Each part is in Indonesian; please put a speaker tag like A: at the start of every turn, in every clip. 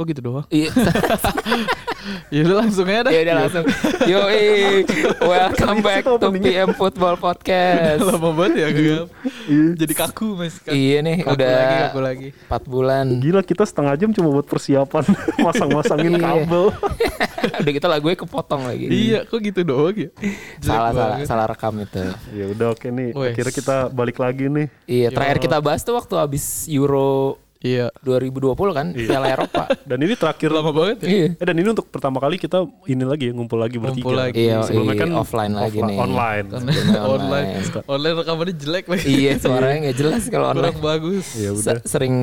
A: Oh gitu doang.
B: Iya.
A: Ya udah langsung aja dah.
B: Ya udah langsung. Yo, welcome back to
C: openingnya.
B: PM Football Podcast.
A: Lama banget ya Gap. Jadi kaku Mas. Kaku.
B: Iya nih,
A: Kaku
B: udah
A: lagi kaku lagi.
B: 4 bulan.
C: Gila kita setengah jam cuma buat persiapan masang-masangin
B: Iya.
C: kabel.
B: udah kita lagunya kepotong lagi.
A: Iya, kok gitu doang ya? Jelek
B: Salah salah
A: banget.
B: salah rekam itu.
C: ya udah oke nih.
A: Wes.
C: Akhirnya kita balik lagi nih.
B: Iya,
A: Yo.
B: terakhir kita bahas tuh waktu habis Euro
A: Iya.
B: 2020 kan, Piala Eropa.
C: Dan ini terakhir
A: Lama banget ya.
B: Iya.
C: Eh dan ini untuk pertama kali kita ini lagi ya, ngumpul lagi bertiga.
A: Ngumpul lagi.
B: Iya,
C: Sebelumnya
B: iya,
C: kan
B: offline lagi
C: offline-
B: nih.
C: Online.
A: online.
B: Iya, online.
A: Online rekamannya jelek lagi.
B: Iya, suaranya nggak jelas kalau
A: Kurang
B: online.
A: bagus.
C: Ya udah.
B: Se- Sering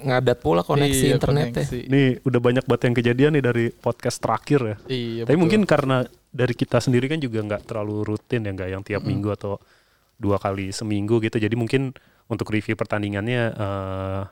B: ngadat pula koneksi ya.
A: Iya,
B: internetnya.
A: koneksi.
C: Nih udah banyak banget yang kejadian nih dari podcast terakhir ya.
A: Iya.
C: Tapi
A: betul.
C: mungkin karena dari kita sendiri kan juga nggak terlalu rutin ya nggak yang tiap minggu atau dua kali seminggu gitu. Jadi mungkin untuk review pertandingannya eh,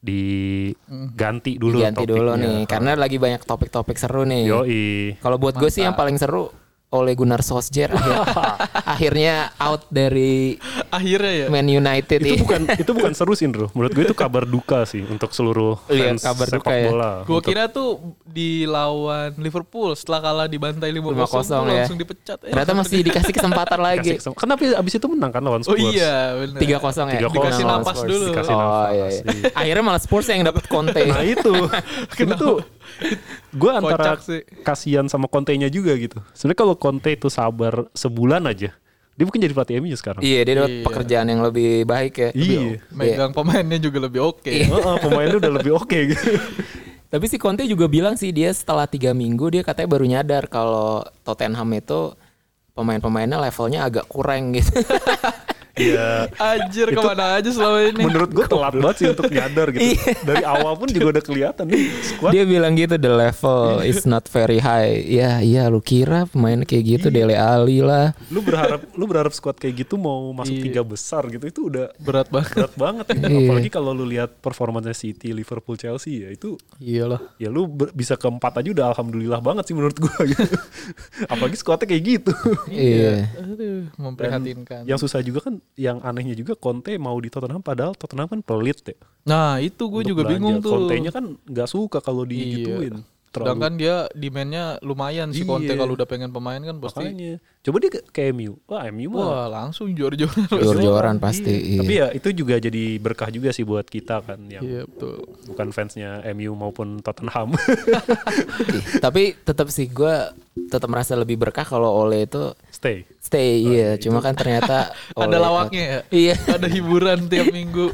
C: diganti dulu
B: Ganti dulu nih,
C: topiknya.
B: karena lagi banyak topik-topik seru nih.
C: Yoi.
B: Kalau buat gue sih yang paling seru oleh Gunnar Solskjaer akhir- akhirnya out dari
A: akhirnya ya.
B: Man United
C: Itu
B: ya.
C: bukan itu bukan seru sih, Bro. Menurut gue itu kabar duka sih untuk seluruh
B: Iya,
C: fans
B: kabar
C: sepak
B: duka ya.
C: bola.
A: Gue
C: Untuk-
A: kira tuh di lawan Liverpool setelah kalah dibantai 5-0 tuh
B: 5-0 ya.
A: langsung dipecat. Eh,
B: Ternyata masih dikasih kesempatan
C: Kasih
B: lagi.
C: kesem- Kenapa abis itu menang kan lawan
A: Oh
C: Spurs?
A: iya, benar.
B: 3-0 ya.
C: 3-0. Dikasih
B: Lawan
A: napas
B: Spurs.
A: dulu.
C: Dikasih
B: oh,
C: napas,
B: iya, iya. Akhirnya malah Spurs yang dapat Conte.
C: Nah itu, itu tuh gue antara
A: Iya. Kocak sih.
C: kasihan sama Conte-nya juga gitu. Sebenarnya kalau Conte itu sabar sebulan aja, dia mungkin jadi pelatih MU sekarang.
B: Iya, dia dapat
A: Iya.
B: pekerjaan yang lebih baik ya.
C: Iya.
B: Lebih- Iya.
A: Megang pemainnya juga lebih oke.
C: Heeh, pemainnya udah lebih oke gitu.
B: Tapi si Conte juga bilang sih dia setelah tiga minggu dia katanya baru nyadar kalau Tottenham itu pemain-pemainnya levelnya agak kurang gitu.
C: Iya.
A: Anjir kemana aja selama ini.
C: Menurut gue telat banget sih untuk nyadar gitu.
A: Iya.
C: Dari awal pun juga udah kelihatan nih squad.
B: Dia bilang gitu the level is not very high. Ya, iya lu kira pemain kayak gitu Dele Ali lah.
C: Lu berharap lu berharap squad kayak gitu mau masuk
A: Iya.
C: tiga besar gitu itu udah
A: Berat banget.
C: berat banget gitu.
B: Iya.
C: Apalagi kalau lu lihat performanya City, Liverpool, Chelsea ya itu
A: Iyalah.
C: ya lu ber- bisa keempat aja udah alhamdulillah banget sih menurut gua gitu. Apalagi squadnya kayak gitu.
B: Iya.
A: Aduh,
C: Dan
A: memprihatinkan.
C: yang susah juga kan yang anehnya juga Conte mau di Tottenham padahal Tottenham kan pelit ya.
A: Nah, itu gue
C: untuk
A: juga
C: belanja.
A: bingung tuh.
C: Conte-nya kan nggak suka kalau digituin.
A: Iya. Sedangkan dia demand-nya lumayan si Conte
C: Iya.
A: kalau udah pengen pemain kan pasti
C: makanya. Coba dia ke, ke MU. Wah, MU mah.
A: wah langsung jor-joran.
B: Jor-joran pasti. Iya.
C: Tapi ya itu juga jadi berkah juga sih buat kita kan yang
A: Iya betul.
C: bukan fansnya MU maupun Tottenham.
B: Ih, Tapi tetap sih gua tetap merasa lebih berkah kalau Ole itu
C: Stay.
B: stay. iya, cuma kan ternyata
A: Ada
B: Ole-
A: lawaknya ya.
B: Iya.
A: Ada hiburan tiap minggu.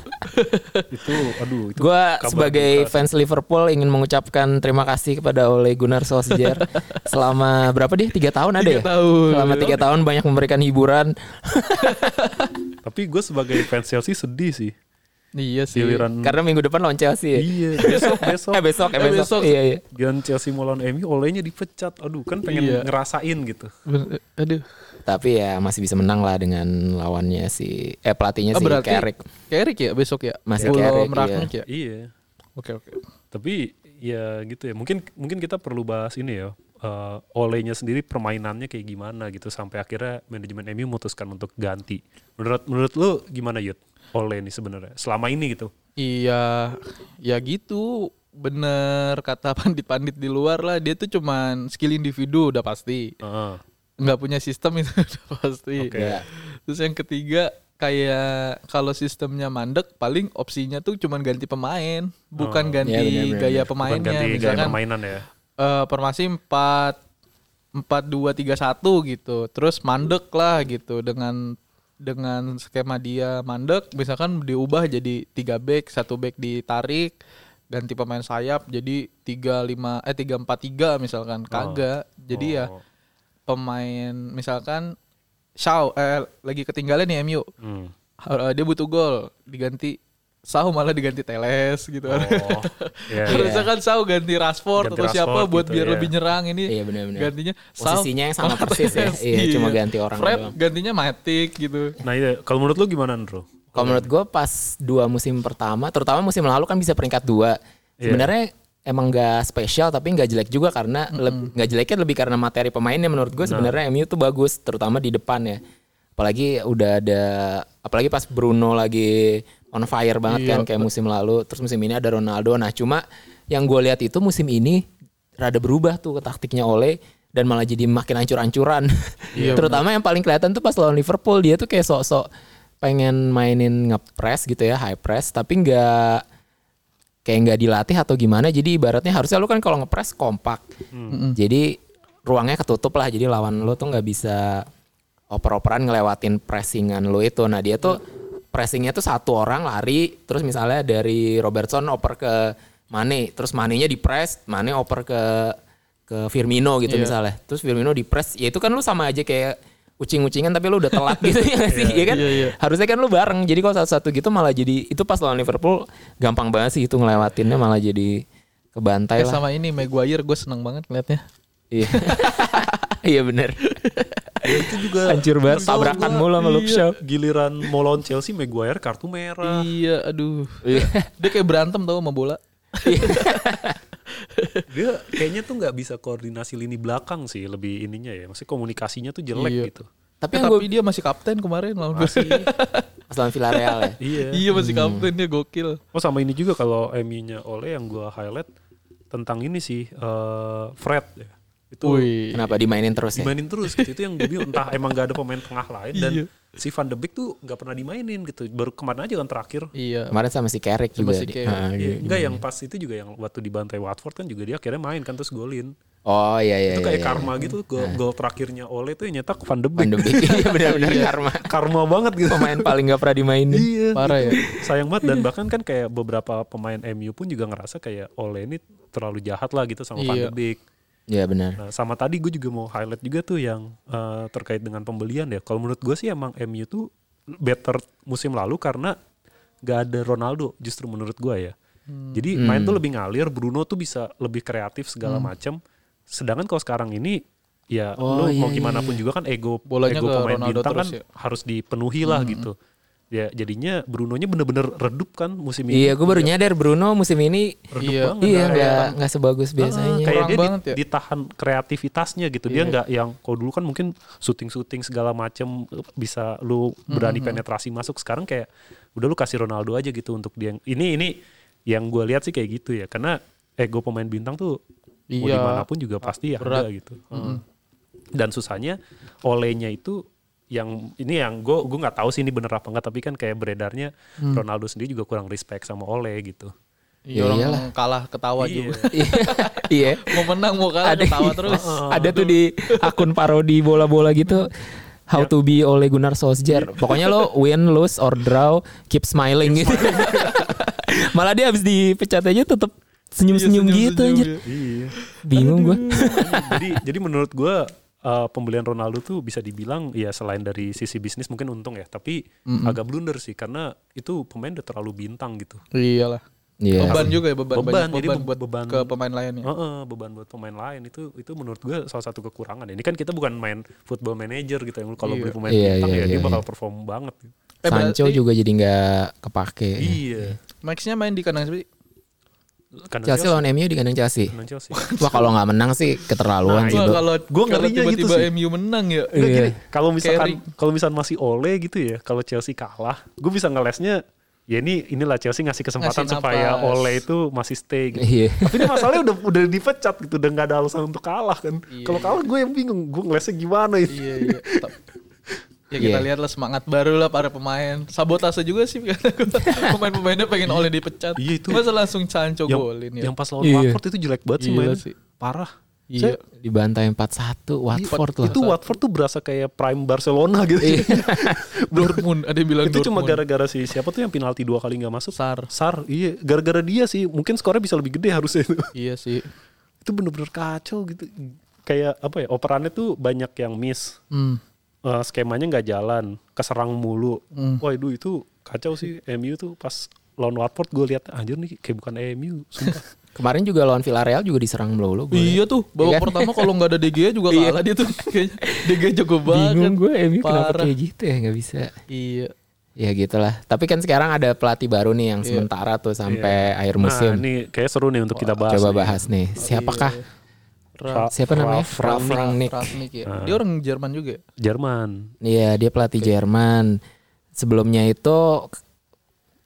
C: Itu aduh itu
B: Gua
C: kabar
B: sebagai
C: duka sih.
B: fans Liverpool ingin mengucapkan terima kasih kepada Ole Gunnar Solskjaer selama berapa dia tiga tahun ada
A: Tiga
B: ya?
A: tahun.
B: Selama tiga tahun banyak memberikan hiburan.
C: Tapi gue sebagai fans Chelsea sedih sih.
A: Iya sih.
C: Giliran
B: Karena minggu depan lawan Chelsea. Ya?
C: Iya, besok besok
B: Eh besok, eh
A: Eh,
B: besok.
A: besok.
B: Iya, iya.
C: Gian Chelsea mau lawan MU olehnya dipecat. Aduh, kan pengen
A: Iya.
C: ngerasain gitu.
A: Ben- Aduh.
B: Tapi ya masih bisa menang lah dengan lawannya si eh pelatihnya
C: Iya
A: Ah,
B: si
A: berarti
B: Carrick.
A: Carrick ya besok ya?
B: Masih
A: Pulau
B: Carrick,
A: Meraknya ya?
C: Iya.
A: Oke oke.
C: Tapi ya gitu ya. Mungkin mungkin kita perlu bahas ini ya. eh, olehnya sendiri permainannya kayak gimana gitu sampai akhirnya manajemen MU memutuskan untuk ganti. Menurut menurut lu gimana Yud? Oleh ini sebenarnya selama ini gitu.
A: Iya, ya gitu. Bener kata pandit-pandit di luar lah. Dia tuh cuman skill individu udah pasti.
C: Heeh.
A: Nggak punya sistem itu udah pasti.
C: Oke.
B: Iya.
A: Terus yang ketiga kayak kalau sistemnya mandek paling opsinya tuh cuman ganti pemain, bukan ganti gaya
B: Iya, bener-bener.
C: Oh. Bukan
A: pemainnya.
C: ganti gaya
A: Misalkan
C: permainan ya.
A: eh, formasi 4 4 2 3 1 gitu. Terus mandek lah gitu dengan dengan skema dia mandek misalkan diubah jadi 3 back, 1 back ditarik, ganti pemain sayap jadi 3 5 eh 3 4 3 misalkan kagak. Jadi ya
C: Oh.
A: pemain misalkan Shaw eh, lagi ketinggalan nih MU.
C: Hmm.
A: Eh, dia butuh gol diganti Shaw malah diganti Teles gitu.
C: Oh. Iya.
A: Harusnya kan Shaw ganti Rashford
C: Ganti
A: atau siapa
C: Rashford
A: buat
C: gitu,
A: biar
C: iya.
A: lebih nyerang ini.
B: Iya, benar-benar.
A: Gantinya
B: Posisinya yang sama persis ya.
A: Mahrez,
B: Iya, cuma ganti orang
A: Fred
B: doang.
A: gantinya Matic gitu.
C: Nah, iya. kalau menurut lu gimana, Andro?
B: Kalau menurut gue pas dua musim pertama, terutama musim lalu kan bisa peringkat dua. Sebenarnya emang gak spesial tapi nggak jelek juga karena leb- nggak jeleknya lebih karena materi pemainnya menurut gue sebenarnya MU tuh bagus terutama di depan ya. Apalagi udah ada apalagi pas Bruno lagi on fire banget kan kayak musim lalu. Terus musim ini ada Ronaldo. Nah cuma yang gue lihat itu musim ini rada berubah tuh ke taktiknya Ole dan malah jadi makin ancur-ancuran. Terutama yang paling kelihatan tuh pas lawan Liverpool dia tuh kayak sok-sok pengen mainin ngepres gitu ya high press tapi nggak kayak nggak dilatih atau gimana jadi ibaratnya harusnya lu kan kalau ngepres kompak jadi ruangnya ketutup lah jadi lawan lu tuh nggak bisa oper-operan ngelewatin pressingan lu itu nah dia tuh pressingnya tuh satu orang lari terus misalnya dari Robertson oper ke Mane terus Manenya di press Mane oper ke ke Firmino
C: Iya.
B: gitu misalnya terus Firmino di press ya itu kan lu sama aja kayak ucing-ucingan tapi lu udah telat gitu ya nggak sih ya kan
A: Iya, iya.
B: harusnya kan lu bareng jadi kalau satu-satu gitu malah jadi itu pas lawan Liverpool gampang banget sih itu ngelewatinnya malah jadi
A: Kayak
B: kebantai lah
A: Eh, sama ini Maguire gue seneng banget ngeliatnya.
B: iya iya bener
C: itu juga
B: hancur banget tabrakan mulu sama Luke Shaw
C: Iya, giliran mau lawan Chelsea Maguire kartu merah
A: Iya, aduh. Dia kayak berantem tau sama bola.
C: dia kayaknya tuh nggak bisa koordinasi lini belakang sih lebih ininya ya masih komunikasinya tuh jelek
A: Iya.
C: gitu
A: Eh,
B: tapi yang
A: tapi
B: gue
A: dia masih kapten kemarin lawan Messi.
B: pas lawan Villarreal ya
C: iya
A: iya masih kapten dia gokil.
C: oh sama ini juga kalau MU-nya Ole yang gua highlight tentang ini sih eh, Fred ya. itu
A: Wih.
B: kenapa dimainin terus ya
C: dimainin terus gitu itu yang gue bilang entah emang gak ada pemain tengah lain dan si Van de Beek tuh nggak pernah dimainin gitu baru kemarin aja kan terakhir
A: Iya.
B: kemarin sama si Carrick juga
A: si
B: di-
A: Carrick.
B: Ah, iya.
C: Iya, enggak yang pas itu juga yang waktu dibantai Watford kan juga dia akhirnya main kan terus golin
B: oh iya iya iya,
C: itu kayak
B: iya.
C: karma gitu gol, gol terakhirnya Ole tuh yang nyetak Van de
B: Van
C: Beek
B: de Beek. iya benar-benar karma
C: karma banget gitu
B: pemain paling gak pernah dimainin
C: iya
A: Parah ya.
C: sayang banget
B: Iya.
C: dan bahkan kan kayak beberapa pemain MU pun juga ngerasa kayak Ole ini terlalu jahat lah gitu sama Van de
A: Iya.
C: Beek
B: iya benar
C: Nah, sama tadi gue juga mau highlight juga tuh yang eh, terkait dengan pembelian ya. Kalau menurut gue sih emang MU tuh better musim lalu karena gak ada Ronaldo justru menurut gue ya.
B: Hmm.
C: Jadi
A: Hmm.
C: main tuh lebih ngalir, Bruno tuh bisa lebih kreatif segala macam. Sedangkan kalau sekarang ini ya
B: Hmm. Oh,
C: lu
B: iya,
C: mau
B: iya,
C: gimana pun juga kan ego
A: Bolanya ke
C: ego pemain
A: Ronaldo
C: bintang
A: terus
C: kan
A: ya.
C: harus dipenuhi lah
B: Hmm.
C: gitu. Ya jadinya Brunonya bener-bener redup kan musim ini.
B: Iya, gue baru nyadar Bruno musim ini
C: Redup
A: Iya.
C: banget.
B: iya nggak nggak sebagus
C: Ah,
B: biasanya.
C: kayak
A: Kurang
C: dia di-
A: banget ya. Iya.
C: ditahan kreativitasnya gitu. Dia nggak yang kalau dulu kan mungkin syuting-syuting segala macem bisa lu berani
A: Mhm.
C: penetrasi masuk. Sekarang kayak udah lu kasih Ronaldo aja gitu untuk dia. yang- Ini ini yang gue lihat sih kayak gitu ya. Karena ego pemain bintang tuh mau
A: Iya. Mhm.
C: dimanapun juga pasti ya ada gitu. Heeh. Dan susahnya olehnya itu yang ini yang gue gue nggak tahu sih ini bener apa enggak tapi kan kayak beredarnya
A: Hmm.
C: Ronaldo sendiri juga kurang respect sama Ole gitu.
A: Iya,
B: Ya
A: orang
B: iyalah.
A: kalah ketawa juga.
B: iya.
A: Mau menang mau kalah ketawa terus.
B: ada tuh di akun parodi bola-bola gitu. How to be Ole Gunnar Solskjaer. Pokoknya lo win, lose, or draw, keep smiling gitu. Malah dia habis dipecat aja tetap senyum-senyum
A: Iya,
B: gitu
A: senyum-senyum
B: anjir.
A: ya.
C: Iya.
B: Bingung gue.
C: Hmm. jadi jadi menurut gue pembelian Ronaldo tuh bisa dibilang ya selain dari sisi bisnis mungkin untung ya tapi agak blunder sih karena itu pemain udah terlalu bintang gitu
A: Iyalah.
B: Iya.
A: Beban juga ya beban,
C: Beban,
A: banyak
C: jadi
A: beban
C: be-
A: buat
C: beban.
A: ke pemain ya.
B: Ya.
A: lainnya.
C: Heeh, beban buat pemain lain itu itu menurut gue salah satu kekurangan ini kan kita bukan main football manager gitu yang lu kalau beli pemain
B: Iya,
C: bintang
B: iya,
C: ya dia
B: iya,
C: bakal perform banget
A: Eh,
B: Sancho
A: berarti-
B: juga jadi nggak kepake.
C: iya
A: Max-nya main di kandang sendiri.
C: kan
B: Chelsea lawan MU di kandang Chelsea.
C: menang Chelsea
B: Wah kalau nggak menang sih keterlaluan sih.
A: Wah,
B: Bro.
A: Nah. kalau
C: Gua
A: kalau
C: ngerinya gitu
A: tiba-tiba
C: sih.
A: MU menang ya.
C: Nggak, gini,
B: Iya.
C: kalau misalkan
A: Carry.
C: kalau misalkan masih Ole gitu ya, kalau Chelsea kalah, gue bisa ngelesnya ya ini inilah Chelsea ngasih kesempatan
A: Ngasih
C: supaya
A: napas.
C: Ole itu masih stay gitu.
B: Iya.
C: Tapi ini masalahnya udah udah dipecat gitu, udah nggak ada alasan untuk kalah kan. Kalau kalah gue yang bingung, gue ngelesnya gimana itu.
A: Iya, iya. Ta- Ya kita
B: Iya.
A: lihatlah semangat baru lah para pemain. Sabotase juga sih kata gua. pemain-pemainnya pengen oleh dipecat.
C: Iya, itu.
A: Masa langsung Sancho
C: Yang,
A: golin ya.
C: yang pas lawan
B: Iya.
C: Watford itu jelek banget sih
A: Gila
C: mainnya.
A: sih.
C: Parah.
A: Iya.
C: Saya-
B: Dibantai 4-1 Watford lah.
C: itu Watford tuh berasa kayak prime Barcelona gitu.
A: Dortmund ada yang bilang
C: itu cuma
A: Dortmund.
C: gara-gara si siapa tuh yang penalti dua kali nggak masuk?
A: Sar.
C: Sar, iya. Gara-gara dia sih, mungkin skornya bisa lebih gede harusnya itu.
A: Iya sih.
C: itu bener-bener kacau gitu kayak apa ya operannya tuh banyak yang miss
A: Hmm.
C: Eh, skemanya nggak jalan keserang mulu
B: Hmm.
C: waduh itu kacau sih MU tuh pas lawan Watford gue lihat anjir nih kayak bukan MU sumpah
B: Kemarin juga lawan Villarreal juga diserang melulu. gua
A: Iya tuh, babak pertama kalau nggak ada DG juga kalah dia tuh. Kayaknya DG jago banget.
B: Bingung gue MU kenapa
A: Parah.
B: kayak gitu ya nggak bisa.
A: Iya.
B: Ya gitulah. Tapi kan sekarang ada pelatih baru nih yang sementara tuh sampai akhir
C: Iya. nah
B: musim.
C: ini kayak seru nih untuk kita bahas
B: Coba
C: nih. Iya.
B: bahas nih. Siapakah?
C: Ra-
B: Siapa namanya?
C: Ralf
B: Ralf Rangnick.
A: Rangnick ya.
B: Ah.
A: Dia orang Jerman juga. ya?
C: Jerman
B: Iya, dia pelatih Jerman. Sebelumnya itu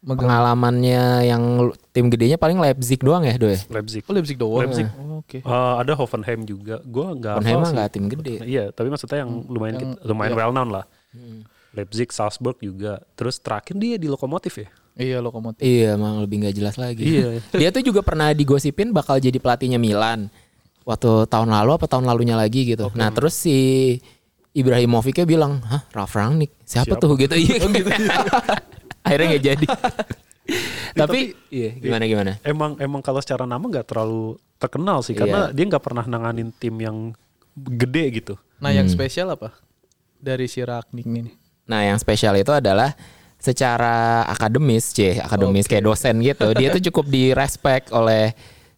A: Megang.
B: Pengalamannya yang lu- tim gedenya paling Leipzig doang ya, Doy?
C: Leipzig.
A: Oh Leipzig doang.
C: Leipzig.
A: Oh, Oke.
C: Eh, ada Hoffenheim juga. Gua nggak hafal
B: Hoffenheim mah
C: sih.
B: nggak Hmm. tim gede.
C: Iya, tapi maksudnya yang lumayan
A: yang-
C: kita-
B: iya.
C: lumayan well known lah.
B: Hmm.
C: Leipzig, Salzburg juga. Terus terakhir dia di lokomotif ya.
A: Iya lokomotif.
B: Iya, emang lebih nggak jelas lagi.
C: Iya.
B: Dia tuh juga pernah digosipin bakal jadi pelatihnya Milan waktu tahun lalu apa tahun lalunya lagi gitu. Nah, terus si Ibrahimovicnya bilang, "Hah, Ralf Rangnick? Siapa,
C: Siapa?
B: tuh?" gitu. Iya. Akhirnya nggak jadi. tapi,
C: tapi-
B: iya, gimana gimana?
C: Emang emang kalau secara nama nggak terlalu terkenal
B: Iya.
C: sih, karena dia nggak pernah nanganin tim yang gede gitu.
A: Nah
B: Hmm.
A: yang spesial apa dari si Ragnik ini?
B: Nah, yang spesial itu adalah secara akademis, C, akademis kayak dosen gitu. Dia tuh cukup direspek oleh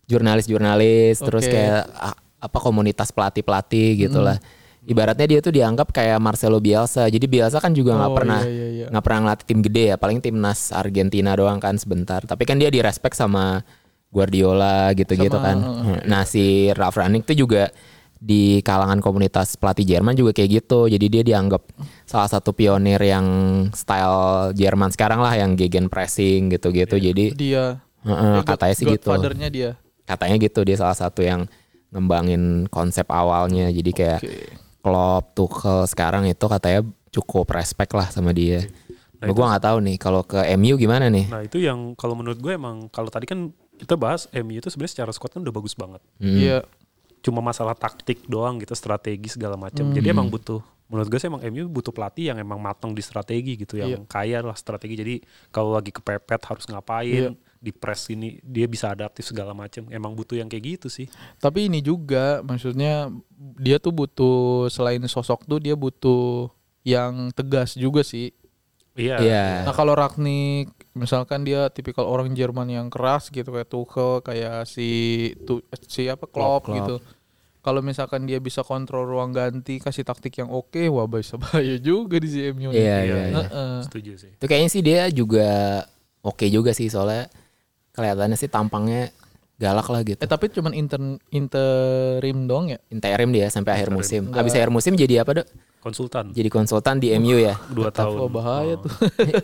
B: jurnalis-jurnalis, terus
A: Oke.
B: kayak a- apa komunitas pelatih-pelatih gitu
A: Hmm.
B: lah. Ibaratnya dia tuh dianggap kayak Marcelo Bielsa. Jadi Bielsa kan juga nggak
A: Oh,
B: pernah
A: iya, iya, iya.
B: nggak pernah ngelatih tim gede ya, paling timnas Argentina doang kan sebentar. Tapi kan dia direspek sama Guardiola gitu-gitu
A: Sama,
B: kan. Nah, si Ralf Rangnick tuh juga di kalangan komunitas pelatih Jerman juga kayak gitu. Jadi dia dianggap salah satu pionir yang style Jerman sekarang lah yang gegen pressing gitu-gitu.
A: Iya.
B: Jadi
A: Dia. Eh,
B: heeh,
A: God-
B: Iya. katanya sih gitu.
A: Godfathernya dia.
B: Katanya gitu dia salah satu yang ngembangin konsep awalnya. Jadi kayak
A: Oke.
B: Klopp, Tuchel sekarang itu katanya cukup respect lah sama dia. Nah, gue nggak tahu nih kalau ke MU gimana nih?
C: Nah itu yang kalau menurut gue emang kalau tadi kan kita bahas MU itu sebenarnya secara squad kan udah bagus banget.
B: Hmm.
A: Iya.
C: Cuma masalah taktik doang gitu, strategi segala macam. Jadi
B: Hmm.
C: emang butuh menurut gue sih emang MU butuh pelatih yang emang matang di strategi gitu, yang
B: Iya.
C: kaya lah strategi. Jadi kalau lagi kepepet harus
B: Iya.
C: ngapain, di press ini dia bisa adaptif segala macam. Emang butuh yang kayak gitu sih.
A: Tapi ini juga maksudnya dia tuh butuh selain sosok tuh dia butuh yang tegas juga sih.
C: Iya.
B: Iya.
A: Nah kalau Ragnik misalkan dia tipikal orang Jerman yang keras gitu kayak Tuchel kayak si tu, si apa Klopp,
B: Klopp.
A: gitu. Kalau misalkan dia bisa kontrol ruang ganti, kasih taktik yang oke, wah bisa bahaya juga di CMU. nih.
B: Iya,
C: Iya.
B: iya, iya.
A: Heeh.
C: Setuju sih.
B: Itu kayaknya sih dia juga oke juga sih soalnya kelihatannya sih tampangnya galak lah gitu.
A: Eh tapi cuman intern interim dong ya.
B: Interim dia sampai akhir musim. Abis akhir musim jadi apa dok?
C: Konsultan
B: Jadi konsultan di MU ya?
C: dua tahun. Oh.
A: Wah bahaya tuh.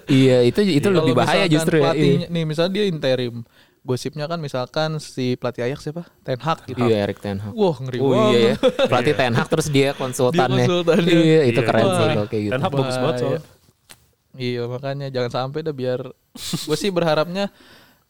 B: iya itu itu lebih
A: Kalau
B: bahaya
A: misalkan
B: justru ya.
A: pelatihnya- Nih misalnya dia interim. Gosipnya kan misalkan si pelatih Ajax siapa? Ten Hag gitu.
B: Iya Erik Ten Hag.
A: Wah ngeri
B: Oh
A: banget.
B: iya ya. Pelatih Ten Hag terus dia konsultannya.
A: Dia konsultannya.
B: Iya itu
C: Iya,
B: keren sih
A: wah.
B: kalau kayak gitu.
C: Dan Hub bagus banget soalnya.
A: Iya makanya jangan sampai dah biar gue sih berharapnya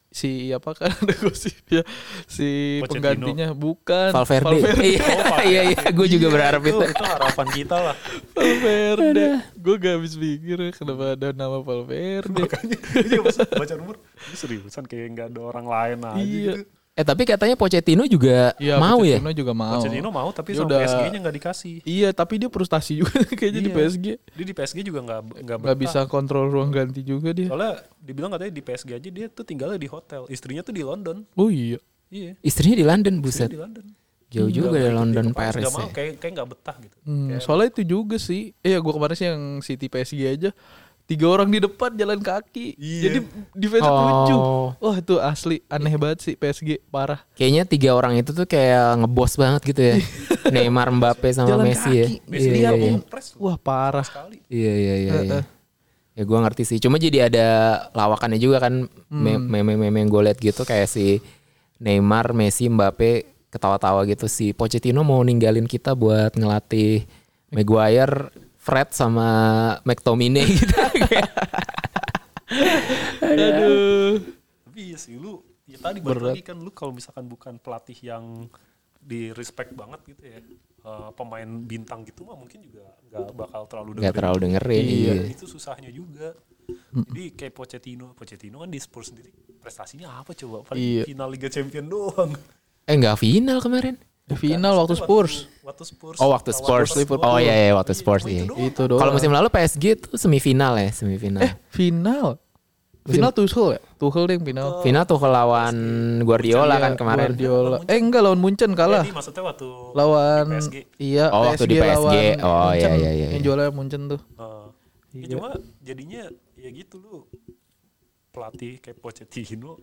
A: si apa kan ada gosip ya si
C: Pochettino.
A: penggantinya bukan
B: Valverde. Iya iya iya gue juga berharap itu.
C: itu harapan kita lah.
A: Valverde. Gue gak habis pikir kenapa ada nama Valverde.
C: Iya masa baca nomor ini seriusan kayak nggak ada orang lain aja
A: Iya.
C: gitu.
B: Eh tapi katanya Pochettino juga
A: Iya,
B: mau ya?
A: Pochettino juga mau.
C: Pochettino mau tapi
A: Dia
C: sama
A: udah-
C: PSG-nya nggak dikasih.
A: Iya, tapi dia frustasi juga kayaknya di
C: Iya.
A: PSG.
C: Dia di PSG juga nggak nggak
A: Gak
C: betah.
A: bisa kontrol ruang ganti juga dia.
C: Soalnya dibilang katanya di PSG aja dia tuh tinggalnya di hotel, istrinya tuh di London.
A: Oh iya.
C: Iya.
B: Istrinya di London
C: dia
B: buset.
C: Di London.
B: Jauh Iya. juga dari London Paris
C: Gak
B: ya.
C: mau kayak kayak nggak betah gitu.
A: Hmm,
C: Kayak-
A: soalnya itu juga sih. Iya, gua kemarin sih yang City PSG aja tiga orang di depan jalan kaki.
C: Iya.
A: Jadi defense
B: Oh.
A: lucu. Wah, itu asli aneh banget sih PSG parah.
B: Kayaknya tiga orang itu tuh kayak ngebos banget gitu ya. Neymar, Mbappe sama
A: Jalan
B: Messi ya.
A: kaki.
C: Messi
B: Iya,
C: dia
B: iya, iya.
C: mau press loh,
A: Wah, parah.
C: sekali.
B: Iya iya iya.
A: Eh,
B: iya.
A: eh.
B: Ya gue ngerti sih. Cuma jadi ada lawakannya juga kan. Me- Meme-meme yang gue liat gitu kayak si Neymar, Messi, Mbappe ketawa-tawa gitu si Pochettino mau ninggalin kita buat ngelatih Maguire, Fred sama McTominay gitu.
A: Aduh.
C: Tapi iya sih lu ya tadi balik lagi kan lu kalau misalkan bukan pelatih yang di respect banget gitu ya. eh, pemain bintang gitu mah mungkin juga nggak bakal terlalu
B: Gak terlalu dengerin.
A: Iya.
B: iya.
C: itu susahnya juga jadi kayak Pochettino Pochettino kan di Spurs sendiri prestasinya apa coba paling
A: Iya.
C: final Liga Champion doang
B: Eh nggak final kemarin.
A: Di final waktu Spurs.
C: waktu Spurs
B: Oh waktu
C: lawan
B: Spurs.
C: Liverpool.
B: Oh iya iya waktu Spurs
C: Cuma itu
B: iya.
C: doang.
A: Itu doang.
B: Kalau musim lalu PSG itu semifinal ya, semifinal.
A: eh final. Final Tuchel ya? Tuchel deh yang final.
B: Final tuh lawan Guardiola
A: Iya,
B: kan kemarin.
A: Guardiola. Eh enggak lawan Munchen kalah.
C: Jadi Iya, maksudnya waktu
A: lawan
C: di PSG.
A: iya
B: Oh, waktu di PSG. Oh,
A: Munchen.
B: iya, iya, iya,
A: Yang
B: iya.
A: jualnya Munchen tuh.
C: eh,
A: Iya.
C: ya cuma jadinya ya gitu lu pelatih kayak Pochettino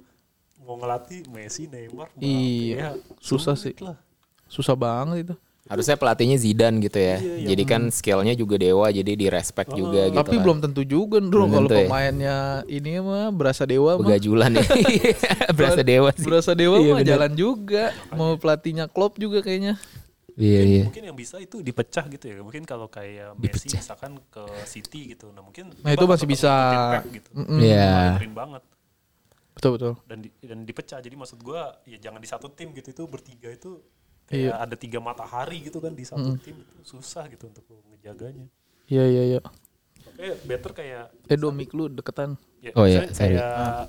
C: mau ngelatih Messi Neymar Mbappe,
A: Iya.
C: ya
A: Susah
C: sulit
A: sih.
C: lah.
A: Susah banget itu.
B: Harusnya pelatihnya Zidane gitu
A: Iya,
B: ya. jadi kan skillnya juga dewa, jadi direspek juga
A: Oh,
B: gitu.
A: Tapi
B: kan.
A: belum tentu juga Ndro
B: Belum
A: kalau
B: tentu ya.
A: pemainnya ini mah berasa dewa mah.
B: begajulan ya. Berasa dewa sih.
A: Berasa dewa
B: Iya,
A: mah
B: bener.
A: jalan juga. Mau pelatihnya Klopp juga kayaknya.
B: Iya, iya.
C: Mungkin yang bisa itu dipecah gitu ya. Mungkin kalau kayak Messi
B: Dipecah.
C: misalkan ke City gitu. Nah, mungkin
A: Nah, itu masih bisa.
C: Impact gitu.
A: Mm-mm.
B: Iya.
C: Keren banget
A: Betul betul.
C: dan di- dan dipecah. Jadi maksud gua ya jangan di satu tim gitu itu bertiga itu
A: Iya.
C: kayak ada tiga matahari gitu kan di satu tim itu susah gitu untuk ngejaganya.
A: Iya iya iya.
C: Oke, better kayak
A: Eh domik lu deketan.
C: Ya,
B: Oh iya,
C: misalnya
B: sorry.
C: kayak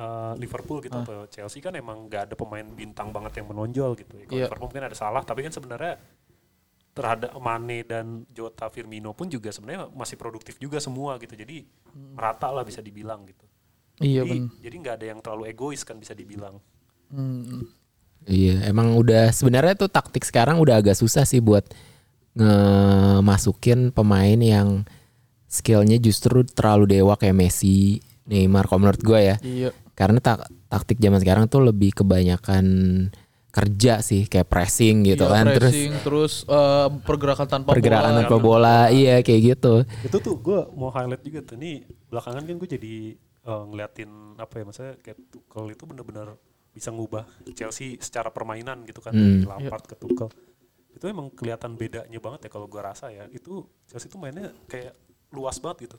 C: eh, Liverpool gitu atau Chelsea kan emang gak ada pemain bintang banget yang menonjol gitu. Ya, Kalau
A: Iya.
C: Liverpool mungkin ada salah, tapi kan sebenarnya terhadap Mane dan Jota Firmino pun juga sebenarnya masih produktif juga semua gitu. Jadi merata lah bisa dibilang gitu.
A: Iya
C: jadi
A: ben.
C: jadi nggak ada yang terlalu egois kan bisa dibilang.
A: Hmm.
B: Iya, emang udah sebenarnya tuh taktik sekarang udah agak susah sih buat ngemasukin pemain yang skillnya justru terlalu dewa kayak Messi, Neymar, kalau menurut gue ya.
A: Iya.
B: Karena tak- taktik zaman sekarang tuh lebih kebanyakan kerja sih, kayak pressing gitu
A: Iya,
B: kan, terus
A: pressing, terus eh, pergerakan tanpa
B: pergerakan
A: bola.
B: tanpa bola, iya kayak gitu.
C: itu tuh gue mau highlight juga tuh nih belakangan kan gue jadi eh, ngeliatin apa ya maksudnya kayak Tuchel itu bener-bener bisa ngubah Chelsea secara permainan gitu kan
A: Hmm.
C: dari Lampard ke Tuchel itu emang kelihatan bedanya banget ya kalau gue rasa ya itu Chelsea tuh mainnya kayak luas banget gitu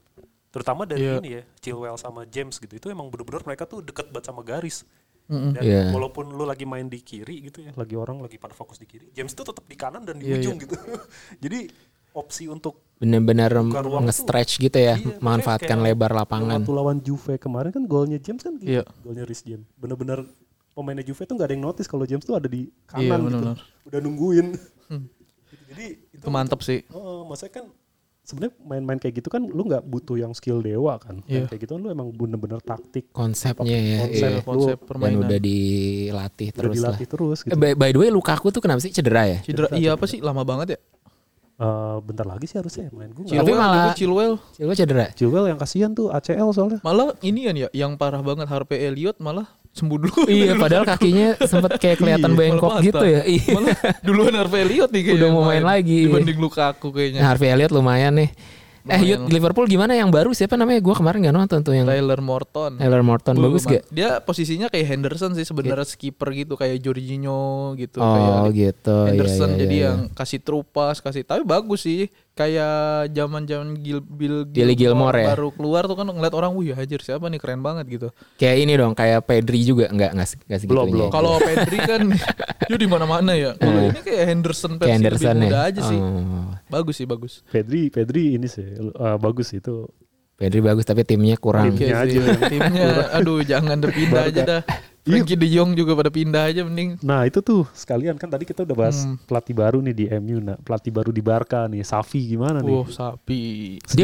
C: terutama dari
A: Iya.
C: ini ya Chilwell sama James gitu itu emang bener-bener mereka tuh deket banget sama garis
A: Mm-mm.
C: dan
B: Iya.
C: walaupun lu lagi main di kiri gitu ya lagi orang lagi pada fokus di kiri James tuh tetap di kanan dan di
A: Iya,
C: ujung gitu jadi opsi untuk
B: Bener-bener
C: Buka ruang tuh.
B: nge-stretch gitu ya,
C: Iya,
B: manfaatkan
C: makanya kayak
B: lebar lapangan.
C: Waktu lawan Juve kemarin kan golnya James kan gitu.
A: Iya.
C: Golnya Rhys James. Bener-bener pemainnya Juve tuh gak ada yang notice kalau James tuh ada di
A: Iya,
C: kanan gitu.
A: bener-bener. Hmm.
C: Udah nungguin. Gitu. Jadi itu
A: Itu mantep sih.
C: oh, maksudnya kan sebenarnya main-main kayak gitu kan lu nggak butuh yang skill dewa kan. Main
A: Iya.
C: Kayak gitu kan lu emang bener-bener taktik.
B: Konsepnya ya,
C: Konsep,
B: iya.
A: Konsep
C: Lu-
B: dan
A: permainan.
B: udah dilatih
C: Udah
B: terus lah.
C: dilatih terus gitu.
B: Eh, by, by the way Lukaku tuh kenapa sih cedera ya?
A: Cedera, iya apa sih lama banget ya?
C: Eh, bentar lagi sih harusnya ya main gue
B: Cil- Tapi
A: Iya.
B: malah-
A: juga Chilwell.
B: Silva cedera.
C: Juvel yang kasihan tuh ACL soalnya.
A: Malah ini kan ya yang parah banget Harvey Elliot malah sembuh dulu.
B: Iya, padahal kakinya sempet kayak
A: Iya,
B: kelihatan bengkok
A: malah
B: gitu
A: patah.
B: ya. Iya.
A: Malah duluan Harvey Elliot nih kayaknya
B: Udah mau main lagi.
A: dibanding Lukaku
B: Nah,
A: kayaknya.
B: Harvey Elliott lumayan nih. Eh,
A: Lumayan
B: Yud,
A: lah.
B: Liverpool gimana yang baru? Siapa namanya? Gua kemarin nggak nonton tuh yang
A: Tyler Morton.
B: Taylor Morton.
A: Belum,
B: Nah, Bagus gak?
A: Mat. Dia posisinya kayak Henderson sih sebenarnya skipper gitu kayak Jorginho gitu kayak
B: Oh gitu. Iya,
A: Henderson
B: iya,
A: jadi
B: iya,
A: yang kasih trupas, kasih tapi bagus sih. Kayak zaman-zaman Gil Bill
B: Billy Gilmore ya? Oh,
A: baru keluar tuh kan ngeliat orang, wih hajar siapa nih keren banget gitu.
B: Kayak ini dong, kayak Pedri juga nggak nggak se- nggak segitunya.
C: Belum, belum.
A: Kalau Pedri kan ya di mana-mana ya. Kalau ini kayak Henderson
B: Iya. kayak
A: versi
B: Henderson
A: lebih
B: ya.
A: muda aja sih.
B: Oh.
A: Bagus sih bagus.
C: Pedri, Pedri ini sih eh, bagus sih itu.
B: Pedri bagus tapi timnya kurang.
A: Oke Iya
C: Timnya
A: sih,
C: Iya aja.
A: Timnya aduh jangan udah pindah aja dah.
C: Iya.
A: Frankie De Jong juga pada pindah aja mending.
C: Nah itu tuh sekalian kan tadi kita udah bahas pelatih baru nih di MU, nah pelatih baru di Barca nih, Safi gimana nih?
A: Wah, sapi.
C: Iya.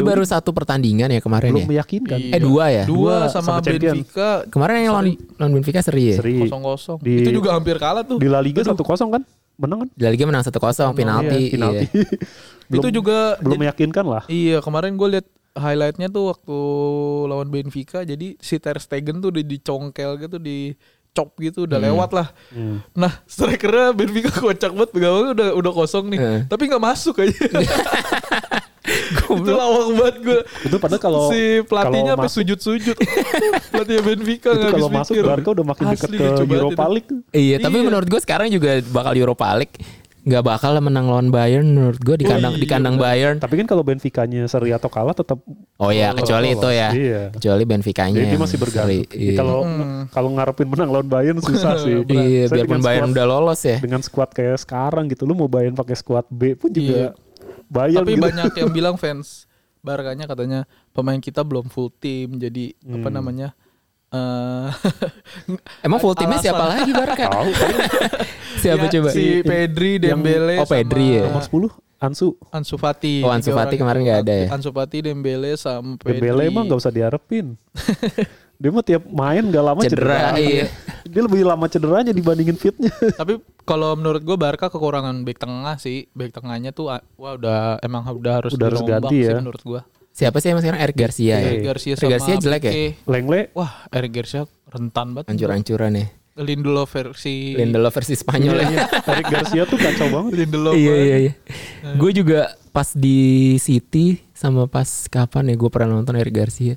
B: Dia baru satu pertandingan ya kemarin ya.
C: Belum meyakinkan.
A: Iya.
B: Eh dua ya.
A: Dua
C: Dua
A: sama,
C: sama champion.
A: Benfica
B: Kemarin yang lawan lawan Benfica seri ya.
A: Iya,
C: Seri
A: kosong-kosong.
C: Di-
A: Itu juga hampir kalah tuh.
C: di La Liga satu kosong kan, menang kan?
B: Di La Liga menang 1-0 penalti.
C: Iya, penalti.
B: Iya.
C: belum,
A: itu juga
C: belum meyakinkan lah.
A: Iya kemarin gue liat highlightnya tuh waktu lawan Benfica jadi si Ter Stegen tuh udah dicongkel gitu di chop gitu
C: Hmm.
A: udah lewat lah. Nah strikernya Benfica kocak banget pegawai udah udah kosong nih
C: Eh.
B: Heeh.
A: tapi nggak masuk aja. itu lawak banget gue.
C: Itu padahal kalau
A: si pelatihnya sampai
C: kalau masuk-
A: sujud-sujud. pelatihnya Benfica
C: itu
A: nggak
C: kalau
A: habis
C: masuk
A: pikir.
C: Barca udah makin dekat
A: Asli
C: ke
A: lucu banget
C: Europa
A: itu.
C: League.
B: Iya, tapi
A: Iya.
B: menurut gue sekarang juga bakal Europa League nggak bakal menang lawan Bayern menurut gue di
A: Oh
B: kandang di
A: iya,
B: kandang Bayern.
C: Tapi kan kalau Benfica-nya seri atau kalah tetap
B: Oh ya, kecuali
C: lolos.
B: itu ya.
C: Iya.
B: Kecuali Benficanya.
C: jadi dia
B: yang
C: masih
B: seri.
C: bergantung.
B: Iya.
C: Kalau kalau ngarepin menang lawan Bayern susah sih.
B: Iya,
C: Saya
B: biarpun
C: dengan
B: Bayern
C: squad-
B: udah lolos ya.
C: dengan squad kayak sekarang gitu lu mau Bayern pakai squad B pun juga Bayern
A: Tapi
C: gitu.
A: banyak yang bilang fans Barkanya katanya pemain kita belum full team jadi apa
C: Hmm.
A: namanya eh
B: Emang full timnya siapa lagi Barca?
C: tahu Iya,
B: siapa
A: ya,
B: coba?
A: si Pedri, Dembele,
B: Oh, Pedri ya.
A: sama
C: nomor 10 Ansu
A: Ansu Fati.
B: Oh, Ansu
A: Tiga
B: Fati
A: orang
B: kemarin
A: itu.
B: nggak ada ya?
A: Ansu Fati, Dembele, sama Pedri.
C: Dembele emang gak usah diharapin dia mah tiap main gak lama
B: Cedera,
C: cedera,
B: iya.
C: dia lebih lama cederanya dibandingin fitnya
A: Tapi kalau menurut gue Barca kekurangan back tengah sih. Back tengahnya tuh ah, wah udah emang udah harus
C: Udah harus
A: dirombak
C: ganti
A: sih
C: ya.
A: menurut gue.
B: Siapa sih emang sekarang Eric
C: Iya.
B: Garcia ya?
A: Eric Garcia
B: Eric
A: sama
B: Garcia jelek ya?
A: Pique.
C: Lengle
A: Wah, Eric Garcia rentan banget.
B: Ancur-ancuran ya.
A: Lindelof versi
B: Lindelof versi Spanyol ya.
C: Tarik Garcia tuh kacau banget.
A: Lindelof.
B: iya iya iya. Gue juga pas di City sama pas kapan ya gue pernah nonton Eric Garcia.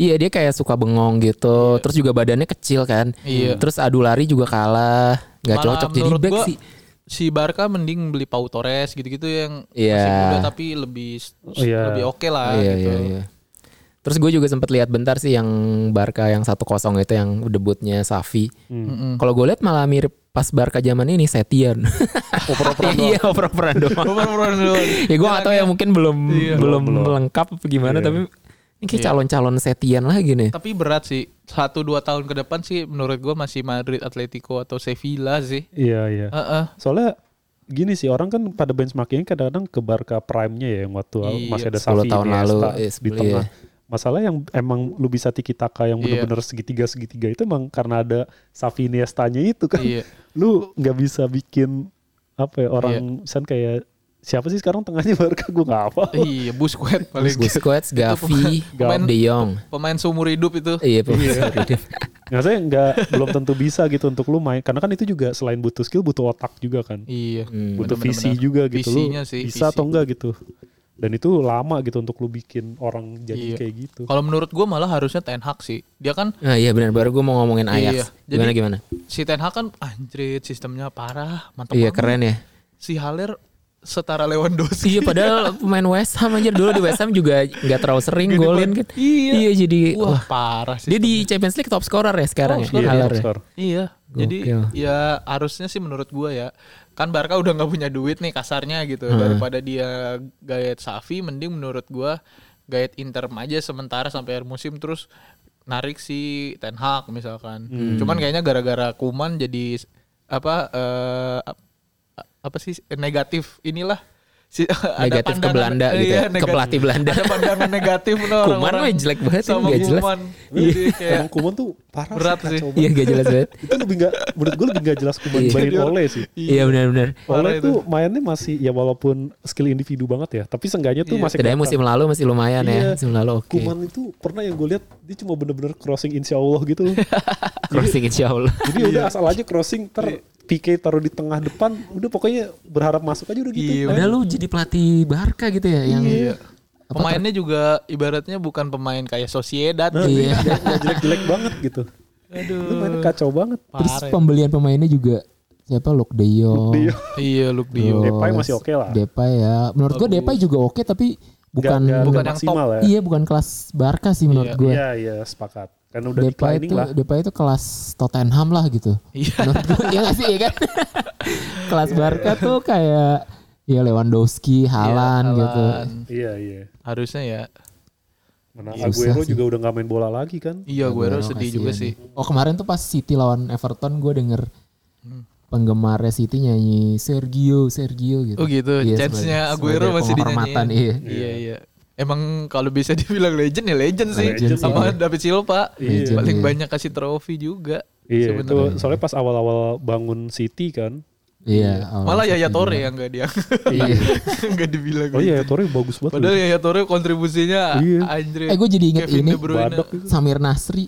B: Iya dia kayak suka bengong gitu. Terus juga badannya kecil kan.
A: Iya.
B: Terus adu lari juga kalah. Gak
A: Malah
B: cocok jadi
A: menurut
B: back
A: gua,
B: sih.
A: Si Barca mending beli Pau Torres gitu-gitu yang masih
B: Iya.
A: muda tapi lebih
C: iya.
A: lebih oke lah
B: iya
A: gitu.
B: iya iya. Terus gue juga sempat lihat bentar sih yang Barca yang 1-0 itu yang debutnya Safi.
A: Hmm.
B: Kalau gue lihat malah mirip pas Barca zaman ini Setian. Oper-operan doang. Iya, oper-operan doang.
A: Over-over dulu.
B: ya gue gak tau ya mungkin belum
A: Iya.
B: belum,
C: Belum, belum.
B: lengkap apa gimana
C: Iya.
B: tapi ini kayak calon-calon setian lagi nih.
A: Tapi berat sih. Satu dua tahun ke depan sih menurut gua masih Madrid, Atletico atau Sevilla sih.
C: Iya iya.
A: Heeh.
C: Soalnya gini sih orang kan pada benchmarking kadang-kadang ke Barca prime-nya ya yang waktu
A: Iya,
C: masih ada
B: 10
C: Xavi
B: tahun
C: Iniesta
B: lalu, iya,
C: di
B: sebelum-
C: tengah.
B: iya.
C: Masalah yang emang lu bisa tiki taka yang
A: Iya.
C: bener-bener segitiga-segitiga itu emang karena ada Xavi Iniesta-nya itu kan.
A: Iya.
C: Lu nggak bisa bikin apa ya orang misalnya kayak siapa sih sekarang tengahnya Barca gue nggak apa.
A: Iya, Busquets paling.
B: Busquets, Gavi,
A: pemain-
B: De Jong.
A: Pemain seumur hidup itu.
B: Iya, pemain-
C: Nggak saya nggak belum tentu bisa gitu untuk lu main karena kan itu juga selain butuh skill butuh otak juga kan.
A: Iya.
C: butuh
A: bener-bener.
C: visi juga gitu lu
A: Visinya sih, visi.
C: bisa atau enggak gitu dan itu lama gitu untuk lu bikin orang
A: Iya.
C: jadi kayak gitu
A: Kalau menurut gua malah harusnya Ten Hag sih. Dia kan
B: Nah, iya benar baru gue mau ngomongin
A: Iya,
B: Ajax.
A: jadi-
B: gimana gimana?
A: si Ten Hag kan anjrit sistemnya parah, mantap
B: Iya
A: banget.
B: keren ya.
A: Si Haller setara Lewandowski.
B: Iya padahal pemain West Ham anjir dulu di West Ham juga nggak terlalu sering
A: Gede
B: golin
A: banget.
B: kan.
A: Iya.
B: jadi
A: Wah,
B: wah.
A: parah sih.
B: Dia di Champions League top scorer ya sekarang
A: Top
B: ya.
C: iya,
A: scorer.
B: Haller ya.
C: Skor.
A: Iya, jadi
B: Gokil.
A: ya harusnya sih menurut gua ya kan Barca udah nggak punya duit nih kasarnya gitu daripada dia gaet Safi, mending menurut gua gaet interim aja sementara sampai akhir musim terus narik si Ten Hag misalkan.
B: Hmm.
A: Cuman kayaknya gara-gara Kuman jadi apa eh, ap- apa sih negatif inilah si, ada
B: Negatif ke
A: pandangan- Iya,
B: Belanda gitu ya, ke
A: negatif-
B: pelatih Belanda.
A: Ada pandangan negatif no,
B: Kuman
A: orang-orang
B: mah jelek banget,
A: sama
B: nggak jelas.
A: Kuman. Jadi Iya, kayak
C: Iya, emang Kuman tuh parah
A: Berat
C: sih,
A: sih.
C: kacau
B: Iya
C: banget.
B: gak jelas banget.
C: itu lebih nggak menurut gue lebih nggak jelas Kuman
B: Iya.
C: dibanding Ole sih
B: Iya benar-benar.
A: Parah
C: Ole
A: itu.
C: tuh mainnya masih ya walaupun skill individu banget ya tapi seenggaknya tuh masih
B: Setidaknya
C: kelihatan.
B: musim lalu masih lumayan
C: Iya.
B: ya. Musim lalu oke.
C: Kuman itu pernah yang gue lihat dia cuma bener-bener crossing insya Allah gitu loh
B: Crossing insya Allah.
C: jadi ya udah asal aja crossing ter PK taruh di tengah depan udah pokoknya berharap masuk aja udah gitu
A: Iya,
B: Padahal lu jadi pelatih Barca gitu ya yang
C: Iya.
A: Pemainnya juga ibaratnya bukan pemain kayak Sociedad.
B: Iya.
C: Nah, Nggak- nggak jelek-jelek banget gitu
A: Aduh.
C: Lu mainnya kacau banget
B: Terus
A: Parah. ya.
B: pembelian pemainnya juga siapa Luke De Jong.
C: Dia
A: Iya, Luke De Jong.
B: Terus
C: Depay masih oke lah.
B: Depay ya. Menurut gua Depay juga oke tapi bukan
C: Nggak- nggak
A: bukan yang
C: maksimal ya.
B: iya bukan kelas Barca sih menurut gua.
C: Iya iya sepakat. Kan udah
B: Depay
C: declining
B: itu
C: lah.
B: Depay itu kelas Tottenham lah gitu.
A: Iya.
B: Menurut gua iya nggak sih iya kan. kelas
C: Iya.
B: Barca tuh kayak ya Lewandowski, Haaland gitu.
A: Haaland.
C: Iya iya.
A: Harusnya ya.
C: Mana
B: Iya, Susah
C: Aguero
B: sih.
C: juga udah nggak main bola lagi kan?
A: Iya, gue harus
B: Aguero
A: sedih juga
B: kasihan.
A: sih.
B: Oh kemarin tuh pas City lawan Everton gue denger
A: Hmm.
B: penggemarnya City nyanyi Sergio, Sergio gitu.
A: Oh gitu,
B: Iya,
A: chance-nya
B: sebagai-
A: Aguero
B: sebagai
A: masih
B: penghormatan,
A: dinyanyiin.
B: Iya.
A: Iya, iya. Emang kalau bisa dibilang legend ya legend sih.
C: Legend sih.
A: Sama David Silva.
C: Iya.
A: Paling
B: Legend, iya.
A: banyak kasih trofi juga.
C: Iya itu
A: sebenarnya.
C: soalnya pas awal-awal bangun City kan.
B: Iya. awal
A: Malah Yaya
B: City
A: Torre
B: juga.
A: yang gak dia
B: Iya.
A: nggak dibilang.
C: Oh iya
A: legend.
C: Torre bagus banget.
A: Padahal ya-
C: loh.
A: Yaya Torre kontribusinya
C: Iya.
A: Andre.
B: Eh gue jadi inget
A: Kevin
B: ini
A: De Bruyne.
C: Badak itu.
B: Samir Nasri.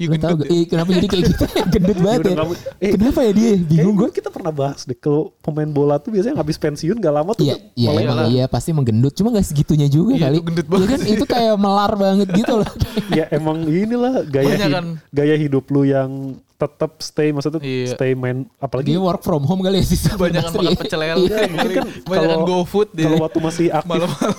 A: Iya,
B: Lu tau
A: gendut
B: gak? Ih, kenapa jadi kayak gitu? gendut banget
C: Dia
B: ya.
C: udah nggak mau- eh,
B: Kenapa ya dia? Bingung
C: Eh,
B: gue.
C: kita pernah bahas deh kalau pemain bola tuh biasanya habis pensiun gak lama tuh
B: Iya, iya,
C: mulai
B: emang
C: malah-
B: iya pasti menggendut, cuma gak segitunya juga
A: Iya,
B: kali.
A: itu gendut
B: Iya
A: banget
B: kan itu kayak melar banget gitu loh.
C: ya emang inilah gaya
A: Banyak
C: hid-
A: kan.
C: gaya hidup lu yang tetap stay maksudnya
A: Iya.
C: stay main apalagi
B: Dia work from home kali ya sih. Samir
A: Banyak
B: Nasri.
A: makan pecel lele,
C: Iya, mungkin kan
A: banyak
C: kalau-
A: GoFood dia.
C: kalau waktu masih aktif
A: Malam-malam.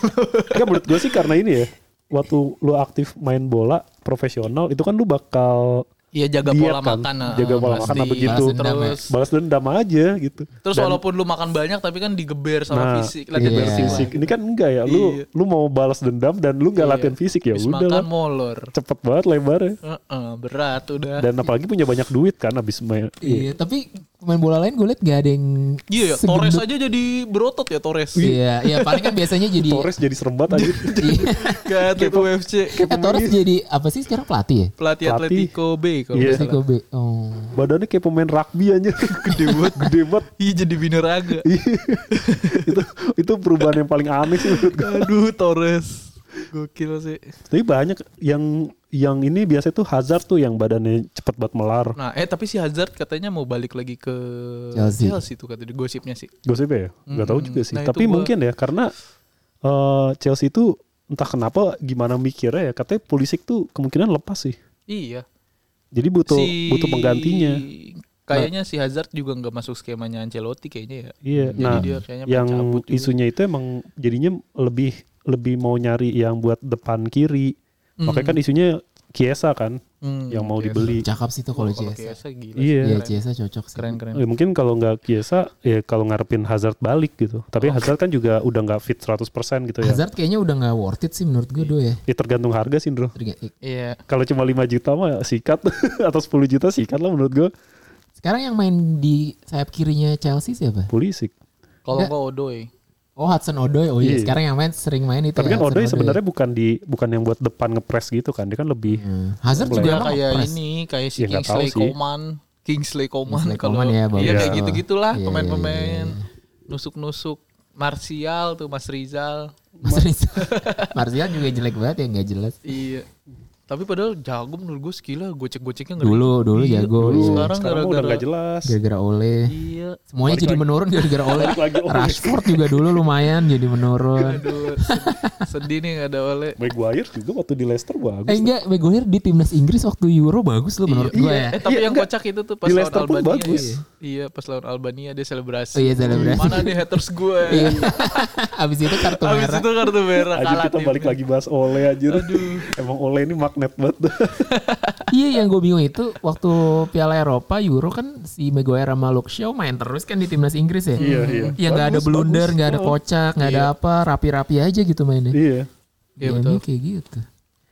C: Enggak menurut gue sih karena ini ya. Waktu lu aktif main bola profesional itu kan lu bakal
A: Iya jaga
C: diet
A: pola
C: kan.
A: makan. ah,
C: Jaga pola
A: pasti.
C: makan apa gitu.
B: Balas dendam ya.
A: Terus
C: balas dendam aja gitu.
A: terus walaupun lu makan banyak tapi kan digeber sama
C: Nah,
A: fisik,
B: iya.
A: latihan fisik.
C: fisik. Ini kan enggak ya. Lu
A: Iya.
C: lu mau balas dendam dan lu enggak latihan fisik ya
A: Habis
C: udah
A: makan
C: lah.
A: molor.
C: Cepet banget lebarnya.
A: Heeh, berat udah.
C: Dan apalagi punya banyak duit kan abis main.
B: Iya, tapi pemain bola lain gue liat gak ada yang
A: Iya,
B: segendut.
A: Torres aja jadi berotot ya Torres.
B: Iya, iya paling kan biasanya jadi
C: Torres jadi serem banget aja.
B: Iya.
A: Gak atlet UFC.
B: Eh, Torres jadi apa sih sekarang pelatih ya?
A: Pelatih
C: Pelatih.
A: Atletico B kalau nggak
C: Iya.
B: Si
A: salah.
B: Kobe. Oh.
C: Badannya kayak pemain rugby aja. Gede banget. Gede banget.
A: Iya jadi bineraga.
C: Iya. itu itu perubahan yang paling aneh sih menurut gue.
A: Aduh Torres. Gokil sih.
C: Tapi banyak yang yang ini biasanya tuh Hazard tuh yang badannya cepet banget melar.
A: Nah, eh tapi si Hazard katanya mau balik lagi ke
C: Ya,
B: Chelsea.
A: Chelsea tuh katanya gosipnya sih.
C: Gosip ya? Gak tahu juga sih.
A: Nah, itu
C: Tapi
A: gua-
C: mungkin ya karena eh, Chelsea itu entah kenapa gimana mikirnya ya katanya Pulisic tuh kemungkinan lepas sih.
A: Iya.
C: Jadi butuh butuh penggantinya. Nah.
A: Kayaknya si Hazard juga nggak masuk skemanya Ancelotti kayaknya ya.
C: Iya.
A: Jadi
C: nah,
A: dia kayaknya
C: yang
A: pencabut juga.
C: isunya itu emang jadinya lebih lebih mau nyari yang buat depan kiri. Makanya kan isunya Kiesa kan
A: Hmm,
C: yang mau
A: Mm. Chiesa.
C: dibeli.
B: Cakep sih tuh kalau
A: Kalau
B: Ciesa.
A: Chiesa gila. sih.
C: Iya.
B: Iya Ciesa cocok sih.
A: Keren keren.
C: Eh, mungkin kalau nggak Kiesa ya kalau ngarepin Hazard balik gitu. Tapi Hazard kan juga udah nggak fit 100% gitu ya.
B: Hazard kayaknya udah nggak worth it sih menurut gue do ya.
C: Ya tergantung harga sih, Bro.
B: Terga-
A: Iya.
C: Kalau cuma 5 juta mah sikat atau 10 juta sikat lah menurut gue
B: Sekarang yang main di sayap kirinya Chelsea siapa?
C: Pulisic.
A: Kalau
C: Ya.
A: nggak Odoi.
B: Oh Hudson Odoi. Oh iya,
C: Iya.
B: sekarang yang main sering main itu.
C: Tapi
B: ya,
C: kan
B: Hudson
C: Odoi sebenarnya bukan di bukan yang buat depan ngepres gitu kan. Dia kan lebih
B: Hmm. Hazard
C: Boleh.
B: juga
A: Dia
B: emang
A: kayak
B: press.
A: ini kayak si
C: Ya, nggak tahu
A: Kingsley
C: sih.
A: Coman, Kingsley Coman
B: Kingsley
A: kalau
B: Coman ya, bagus.
A: iya kayak
B: Iya.
A: gitu-gitulah
B: Iya, iya,
A: pemain-pemain
C: iya.
A: nusuk-nusuk Martial tuh Mas Rizal.
B: Mas Rizal. Martial juga jelek banget ya nggak jelas.
A: Iya. Tapi padahal jago menurut gue skillnya gocek-goceknya nggak
B: Dulu dulu jago.
A: dulu.
B: iya.
A: Sekarang
C: sekarang udah
A: gara-gara-
C: nggak jelas.
B: Gara-gara oleh.
A: Iya.
B: Semuanya jadi menurun gara-gara oleh.
C: Balik lagi Ole.
B: Rashford juga dulu lumayan jadi menurun.
A: Aduh, sedih nih nggak ada oleh.
C: Maguire juga waktu di Leicester
B: Eh
C: bagus.
B: enggak, Maguire di timnas Inggris waktu Euro bagus loh menurut
C: Iya.
B: gue ya.
A: Eh, tapi yang kocak itu tuh pas
C: Di
A: lawan
C: Leicester pun
A: Albania.
C: bagus.
A: ya. Iya, pas lawan Albania dia selebrasi.
B: Oh iya, selebrasi.
A: Mana nih haters gue?
B: Iya. Abis itu kartu
A: Habis
B: merah.
A: itu kartu
B: Eh,
A: merah
C: Anjir
A: kalah
C: kita
A: tim. ya.
C: balik lagi bahas Ole anjir.
A: Aduh.
C: Emang Ole ini magnet banget.
B: Iya yang gue bingung itu waktu Piala Eropa Euro kan si Maguire sama Luke Shaw main terus kan di timnas Inggris ya.
C: Iya, iya.
B: Yang nggak ada
C: Bagus,
B: blunder,
C: bagus.
B: nggak ada
C: Oh.
B: kocak, nggak ada apa, rapi-rapi aja gitu mainnya.
C: iya.
A: Iya,
B: Gamenya
A: betul.
B: kayak gitu.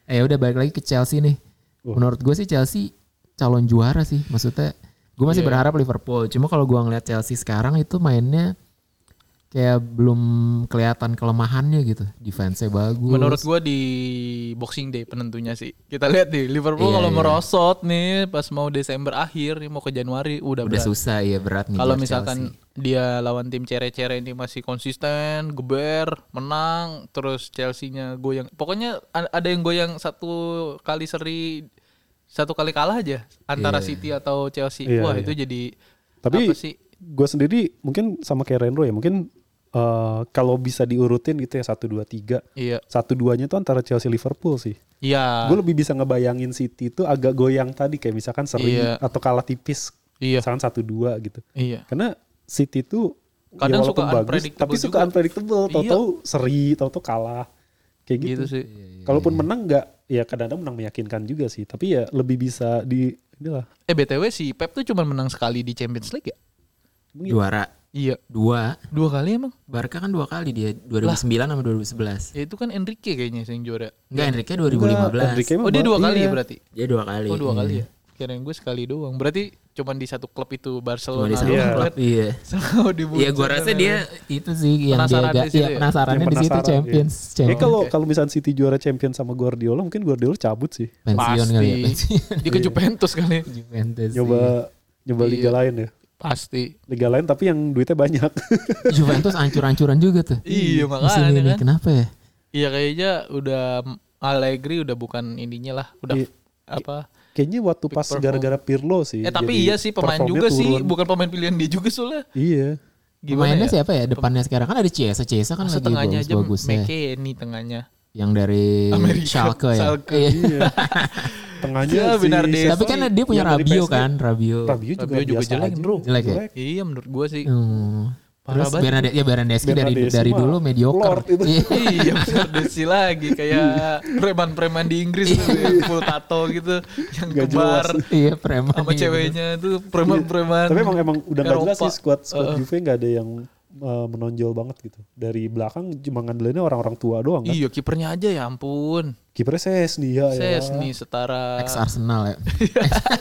B: Eh udah balik lagi ke Chelsea nih.
C: Wah.
B: Menurut gue sih Chelsea calon juara sih. Maksudnya gue masih
A: Iya.
B: berharap Liverpool. Cuma kalau gue ngeliat Chelsea sekarang itu mainnya kayak belum kelihatan kelemahannya gitu. Defense-nya bagus.
A: Menurut gua di Boxing Day penentunya sih. Kita lihat nih Liverpool
B: Iya,
A: kalau
B: iya.
A: merosot nih pas mau Desember akhir nih mau ke Januari udah,
B: udah
A: berat.
B: susah ya berat nih.
A: Kalau
B: buat
A: misalkan dia lawan tim cere-cere ini masih konsisten, geber, menang, terus Chelsea-nya goyang. Pokoknya a- ada yang goyang satu kali seri, satu kali kalah aja antara City atau Chelsea.
C: Iya,
A: Wah,
C: iya.
A: itu jadi
C: Tapi
A: apa sih?
C: gue sendiri mungkin sama kayak Renro ya. Mungkin eh, kalau bisa diurutin gitu ya satu dua tiga.
A: Iya.
C: Satu duanya tuh antara Chelsea Liverpool sih.
A: Iya.
C: Gue lebih bisa ngebayangin City itu agak goyang tadi kayak misalkan seri
A: Iya.
C: atau kalah tipis.
A: Iya.
C: Misalkan satu dua gitu.
A: Iya.
C: Karena City itu
A: Kadang
C: walaupun
A: suka unpredictable
C: tapi suka
A: juga. Iya.
C: unpredictable. Tahu-tahu seri, tahu-tahu kalah. Kayak gitu.
A: Gitu sih.
C: Kalaupun menang nggak, ya kadang-kadang menang meyakinkan juga sih. Tapi ya lebih bisa di inilah.
A: Eh BTW si Pep tuh cuma menang sekali di Champions League ya?
B: Chelsea. Juara
A: Iya.
B: dua.
A: Dua kali emang?
B: Barca kan dua kali dia 2009 sama 2011.
A: Ya itu kan Enrique kayaknya yang juara.
B: Enggak Enrique 2015.
C: Enrique mah
A: Oh dia
C: ba-
A: dua kali
C: iya.
A: ya berarti?
B: Dia dua kali.
A: Oh dua
B: iya.
A: kali ya? Kirain gue sekali doang. Berarti cuman di satu klub itu
B: Cuma
A: Barcelona.
B: di satu
C: Iya.
B: klub. Iya.
A: Selalu dibujuk.
B: Iya gua rasa dia itu sih yang dia
A: Penasaran
B: agak
A: di situ
B: iya,
A: ya?
B: penasarannya
C: Yang
B: di situ
C: penasaran, iya.
B: Champions.
C: Kayaknya
B: Champions.
C: kalau kalau misalnya City juara champion sama Guardiola, mungkin Guardiola cabut sih.
B: pensiun
A: Pasti.
B: kali ya pensiun.
A: Dia ke Juventus kali.
B: Juventus. iya.
C: Nyoba nyoba liga lain ya.
A: Pasti.
C: Liga lain tapi yang duitnya banyak.
B: Juventus ancur-ancuran juga tuh.
A: Iya,
B: Musim
A: makanya
B: ini
A: kan.
B: kenapa ya?
A: Iya kayaknya udah Allegri udah bukan ininya lah. Udah
C: Iya.
A: apa?
C: Kayaknya waktu pas
A: perform.
C: gara-gara Pirlo sih.
A: Eh tapi
C: jadi
A: iya sih pemain
C: performnya
A: juga sih,
C: turun.
A: bukan pemain pilihan dia juga soalnya.
C: Iya.
A: Gimana
B: Pemainnya
A: ya?
B: siapa ya? Depannya sekarang kan ada Chiesa, Chiesa kan
A: Masa
B: lagi
A: tengahnya aja
B: bagus-bagusnya.
A: McKennie tengahnya.
B: Yang dari
A: Amerika,
B: Schalke ya.
A: Schalke.
B: Iya.
C: Tengahnya
A: Ya,
C: si
A: benar deh.
B: Tapi kan dia punya
C: Yang dari
B: Rabio
C: PSG.
B: kan, Rabio.
C: Rabio juga,
A: Rabio juga
C: biasa
A: jelek,
C: aja.
A: bro.
B: Jelek ya?
A: Iya menurut gua sih.
B: Hmm.
A: Parah
B: Terus
A: banget.
B: Bernadette ya Bernadeschi dari
C: Bernadeschi
B: dari
C: mah
B: dulu mediocre.
C: lord itu.
B: Iya.
A: iya Bernadeschi lagi kayak preman-preman di Inggris tuh yang full tato gitu yang
C: Nggak
A: kebar
B: Iya preman.
A: sama
B: iya,
A: ceweknya gitu. tuh preman-preman
C: Tapi emang emang udah nggak jelas
A: Eropa.
C: sih squad squad Juve nggak ada yang eh, menonjol banget gitu. Dari belakang cuma ngandelinnya orang-orang tua doang kan.
A: iya kipernya aja ya ampun
C: Kipernya Sesni ya. ya.
A: ses nih setara
B: Ex Arsenal ya.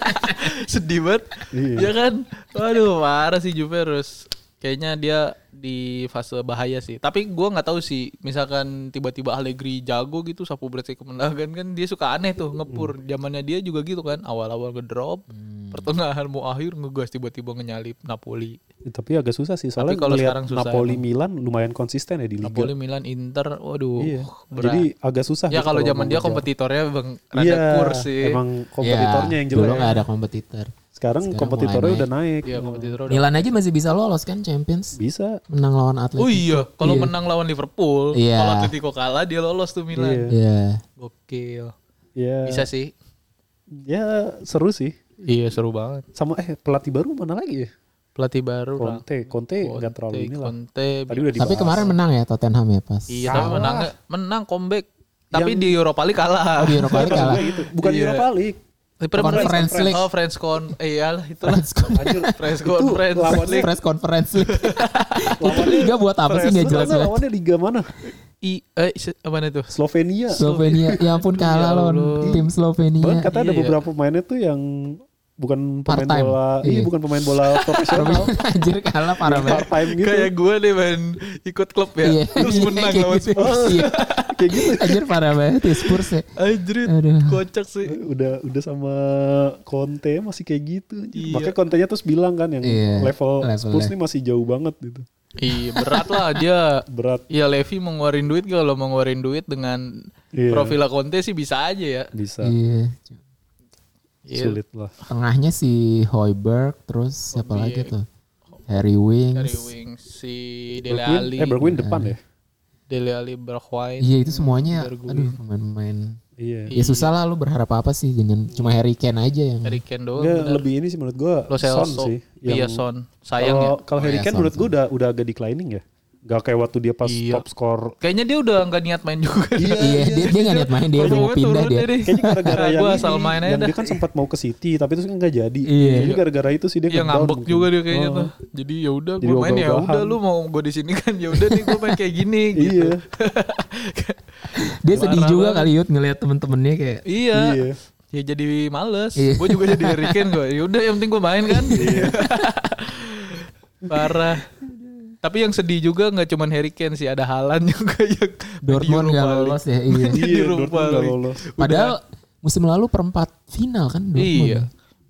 A: sedih banget
C: Iya.
A: ya kan waduh parah sih Juve harus kayaknya dia di fase bahaya sih tapi gua nggak tahu sih misalkan tiba-tiba Allegri jago gitu sapu bersih kemenangan kan dia suka aneh tuh
C: Hmm.
A: ngepur zamannya dia Hmm. juga gitu kan awal-awal ngedrop pertengahan mau akhir ngegas tiba-tiba ngenyalip Napoli
C: Tapi agak susah sih soalnya
A: kalau
C: ngelihat
A: sekarang susah
C: Napoli Milan lumayan konsisten ya di liga.
A: Napoli, Milan, Inter, waduh.
C: Iya.
A: Uh, berat.
C: Jadi agak susah.
A: ya
C: gitu
A: kalau zaman
C: mau
A: dia
C: ngejar.
A: kompetitornya bang rada
C: Iya,
A: kur sih. Iya.
C: Emang kompetitornya yang jelek.
B: Ya, Dulu nggak ada kompetitor.
C: Sekarang,
B: Sekarang
C: kompetitornya
B: mulai
C: udah naik.
A: Iya, kompetitor udah.
B: Milan aja masih bisa lolos kan Champions.
C: Bisa.
B: Menang lawan
A: Oh
B: Atletico.
A: iya, kalau menang lawan Liverpool,
B: Iya.
A: kalau Atletico kalah dia lolos tuh Milan.
C: Iya.
B: Iya.
A: Gokil.
C: Ya,
A: Bisa sih.
C: ya seru sih.
A: Iya, seru banget.
C: Sama eh pelatih baru mana lagi ya?
A: Pelatih baru lah.
C: Conte, Conte nggak terlalu ini lah.
A: Conte.
C: Tadi udah dibahas.
B: Tapi kemarin menang ya Tottenham ya pas.
A: Iya, tapi
C: Kalah.
A: menang menang comeback. Tapi di Europa League kalah.
B: Oh, Di Europa League kalah.
C: gitu. Bukan
A: Iya.
C: Europa League.
B: Conference League.
A: Oh, French Con. Eh, iyalah itulah. French Conference
C: lawannya-
A: League.
B: Press conference league. Itu liga buat apa sih nggak
C: Fresno
B: jelas ya.
C: sana
B: banget.
C: lawannya liga mana?
A: I, eh, se- apa itu?
C: Slovenia.
B: Slovenia, ya ampun kalah lawan tim
C: Bahkan
B: Slovenia.
A: Iya,
C: katanya ada
A: iya.
C: beberapa pemainnya tuh yang bukan pemain
B: Part-time.
C: bola, iya
B: Iya.
C: bukan pemain bola profesional,
B: Anjir kalah parah banget.
A: ya.
C: part time gitu.
A: Kayak gue deh main ikut klub ya.
B: Iya.
A: Terus
B: Iya,
A: menang
B: kayak
A: lawan
B: gitu.
A: Spurs.
B: Iya.
C: Kayak gitu.
B: Anjir parah banget ya Spurs ya.
A: Anjrit,
B: Aduh.
A: kocak sih.
C: Udah udah sama Conte masih kayak gitu.
A: Iya.
C: Makanya Conte-nya terus bilang kan yang
B: Iya,
C: level
B: levelnya.
C: Spurs nih masih jauh banget gitu.
A: Iya, berat lah dia.
C: Berat
A: Ya Levi mau ngeluarin duit kalau mau ngeluarin duit dengan
C: Iya.
A: profil Conte sih bisa aja ya.
C: bisa
B: Iya.
A: Iya.
C: sulit lah.
B: Tengahnya si Hoiberg terus siapa lagi tuh? Harry
A: Harry
B: Wings.
A: Wings, si Dele
C: Bergwijn,
A: Alli,
C: eh Bergwijn depan ya?
A: Dele Alli Bergwijn.
B: Iya itu semuanya aduh pemain-pemain.
C: Iya.
B: Ya susah lah lu berharap apa sih dengan cuma Harry Kane aja
A: Iya.
B: yang
A: Harry Kane doang.
C: Nggak,
A: bener.
C: lebih ini sih menurut gua
A: Lo
C: Son
A: Celso.
C: sih.
A: Iya
C: yang-
A: Son. Sayang ya.
C: Kalau kalau Harry
B: Iya,
C: Kane
B: Son,
C: menurut gua udah udah agak declining ya. Gak kayak waktu dia pas
A: Iya.
C: top score
A: Kayaknya dia udah nggak niat main juga.
B: Iya, dia dia nggak niat main dia udah mau
A: Performanya
B: pindah
A: turun
B: dia.
A: deh.
C: Kayaknya gara-gara
A: Nah,
C: yang
A: gua
C: ini,
A: asal main aja
C: yang
A: dah.
C: dia kan sempat mau ke City tapi terus kan nggak jadi.
B: Iya.
C: Jadi gara-gara itu sih dia
A: Iya
C: ngedown
A: ngambek
C: mungkin.
A: juga dia kayaknya
C: Oh,
A: tuh. Jadi ya udah
C: Jadi
A: gue main ya
C: ogah-ogahan.
A: udah lu mau gue di sini kan ya udah nih gue main kayak gini gitu.
C: Iya.
B: Dia sedih
A: Parah
B: juga
A: banget.
B: kali Yud ngelihat temen-temennya kayak
A: Iya.
C: Iya.
A: Ya jadi males.
B: Iya.
A: Gue juga jadi Harry Kane gue. Ya udah yang penting gue main kan. Parah. Tapi yang sedih juga nggak cuman Harry Kane sih ada Halan juga yang
B: Dortmund nggak lolos ya. Iya.
A: Di
C: Iya,
A: Europa
C: Dortmund nggak
A: League.
C: lolos.
B: Padahal musim lalu perempat final kan Dortmund.
A: Iya.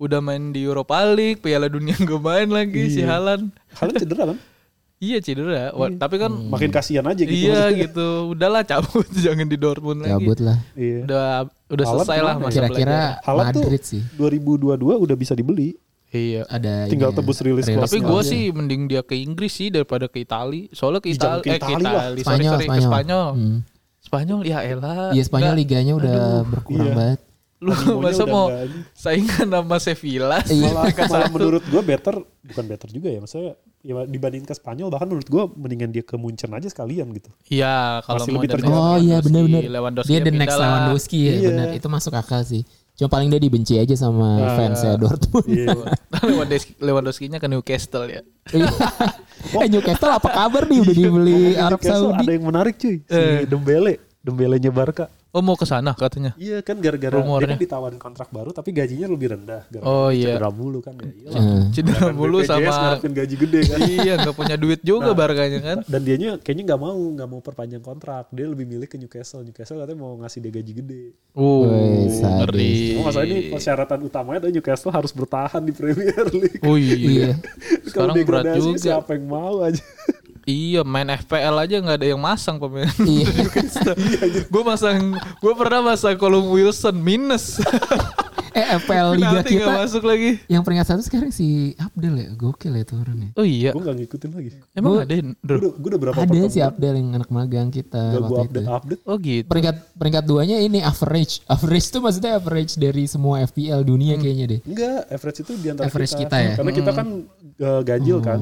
A: Udah main di Europa League, Piala Dunia nggak main lagi si Halan.
C: Haaland cedera kan?
A: Iya cedera. Wah, Tapi kan
C: Makin
B: Hmm.
C: kasihan aja gitu.
A: iya
C: maksudnya.
A: gitu. Udahlah cabut jangan di Dortmund lagi.
B: Cabut lah.
C: Iya.
A: Udah udah
C: Haaland
A: selesai lah
C: kemana
A: masa belajar.
B: Kira-kira
C: Haaland tuh
B: Madrid sih
C: 2022 udah bisa dibeli.
A: Iya.
B: ada ini
C: Tinggal
B: ya,
C: tebus rilis
B: rilis
A: Tapi
C: Bosnya
A: gue
C: aja.
A: sih mending dia ke Inggris sih daripada ke Itali. Soalnya ke
C: Ih, jangan
A: Itali,
C: ke
A: eh, ke
C: Itali lah.
A: Itali, sorry,
B: Spanyol,
A: sorry, ke
B: Spanyol.
A: Spanyol.
B: Hmm.
A: Spanyol ya elah.
B: Iya Spanyol
A: Nggak,
B: liganya udah berkurang
C: iya.
B: banget.
A: Lu
C: Animonya
A: masa
C: udah
A: mau
C: nggak ada.
A: saingan sama Sevilla?
B: Iya.
A: sih?
C: Malah, malah menurut gue better bukan better juga ya maksudnya ya dibanding ke Spanyol bahkan menurut gue mendingan dia ke Munchen aja sekalian gitu.
A: Iya, kalau
C: Masih
A: mau
C: lebih
A: ada
C: terjaga.
B: Oh iya
A: Lewandowski,
B: benar-benar.
A: Lewandowski
B: Dia the
A: pindah
B: next
A: lah.
B: Lewandowski ya
C: Iya.
B: benar. Itu masuk akal sih. Cuma paling dia dibenci aja sama fans ya Dortmund.
C: Nah. Iya.
A: Oh, Lewandowski, Lewandowskinya ke Newcastle ya.
B: eh Newcastle apa kabar nih udah dibeli Arab
C: Newcastle ada
B: Saudi?
C: yang menarik cuy. Si Dembele, Dembelenya Barca.
A: Oh mau ke sana katanya.
C: Iya kan gara-gara
A: Rumornya.
C: dia kan ditawarin kontrak baru tapi gajinya lebih rendah. Gara
A: Oh, iya.
C: Cedera mulu kan ya. iyalah.
B: Eh,
A: Cedera mulu
C: BPJS
A: sama
C: ngarepin Nah. gaji gede kan.
A: iya nggak punya duit juga barkanya kan.
C: Dan dianya kayaknya nggak mau, nggak mau perpanjang kontrak. Dia lebih milih ke Newcastle. Newcastle katanya mau ngasih dia gaji gede.
A: Uh,
B: Wih, sadis.
A: ngeri.
C: Cuma masalahnya Oh,
A: Iya.
C: ini persyaratan utamanya adalah Newcastle harus bertahan di Premier League.
A: Oh iya.
B: Iya.
A: Sekarang berat
C: degradasi,
A: juga.
C: Siapa yang mau aja.
A: Iya main FPL aja nggak ada yang masang pemain.
B: Iya.
A: gue masang, gue pernah masang kolom Wilson minus.
B: Eh FPL
A: Penalti
B: Liga
A: nggak
B: kita
A: masuk lagi.
B: yang peringkat satu sekarang si Abdel ya gokil ya turun ya.
A: Oh iya,
C: gue nggak ngikutin lagi.
A: emang ada yang-
C: Gue
A: Duh.
C: udah, gua udah berapa
B: Ada
C: pertemuan
B: si Abdel yang anak magang kita
C: nggak gue
B: waktu itu.
C: update update.
A: Oh gitu.
B: Peringkat peringkat duanya ini average. Average tuh maksudnya average dari semua FPL dunia
C: Hmm.
B: kayaknya deh.
C: Enggak, average itu di antara
B: Average
C: kita.
B: kita ya? Hmm.
C: Karena kita kan eh, ganjil kan.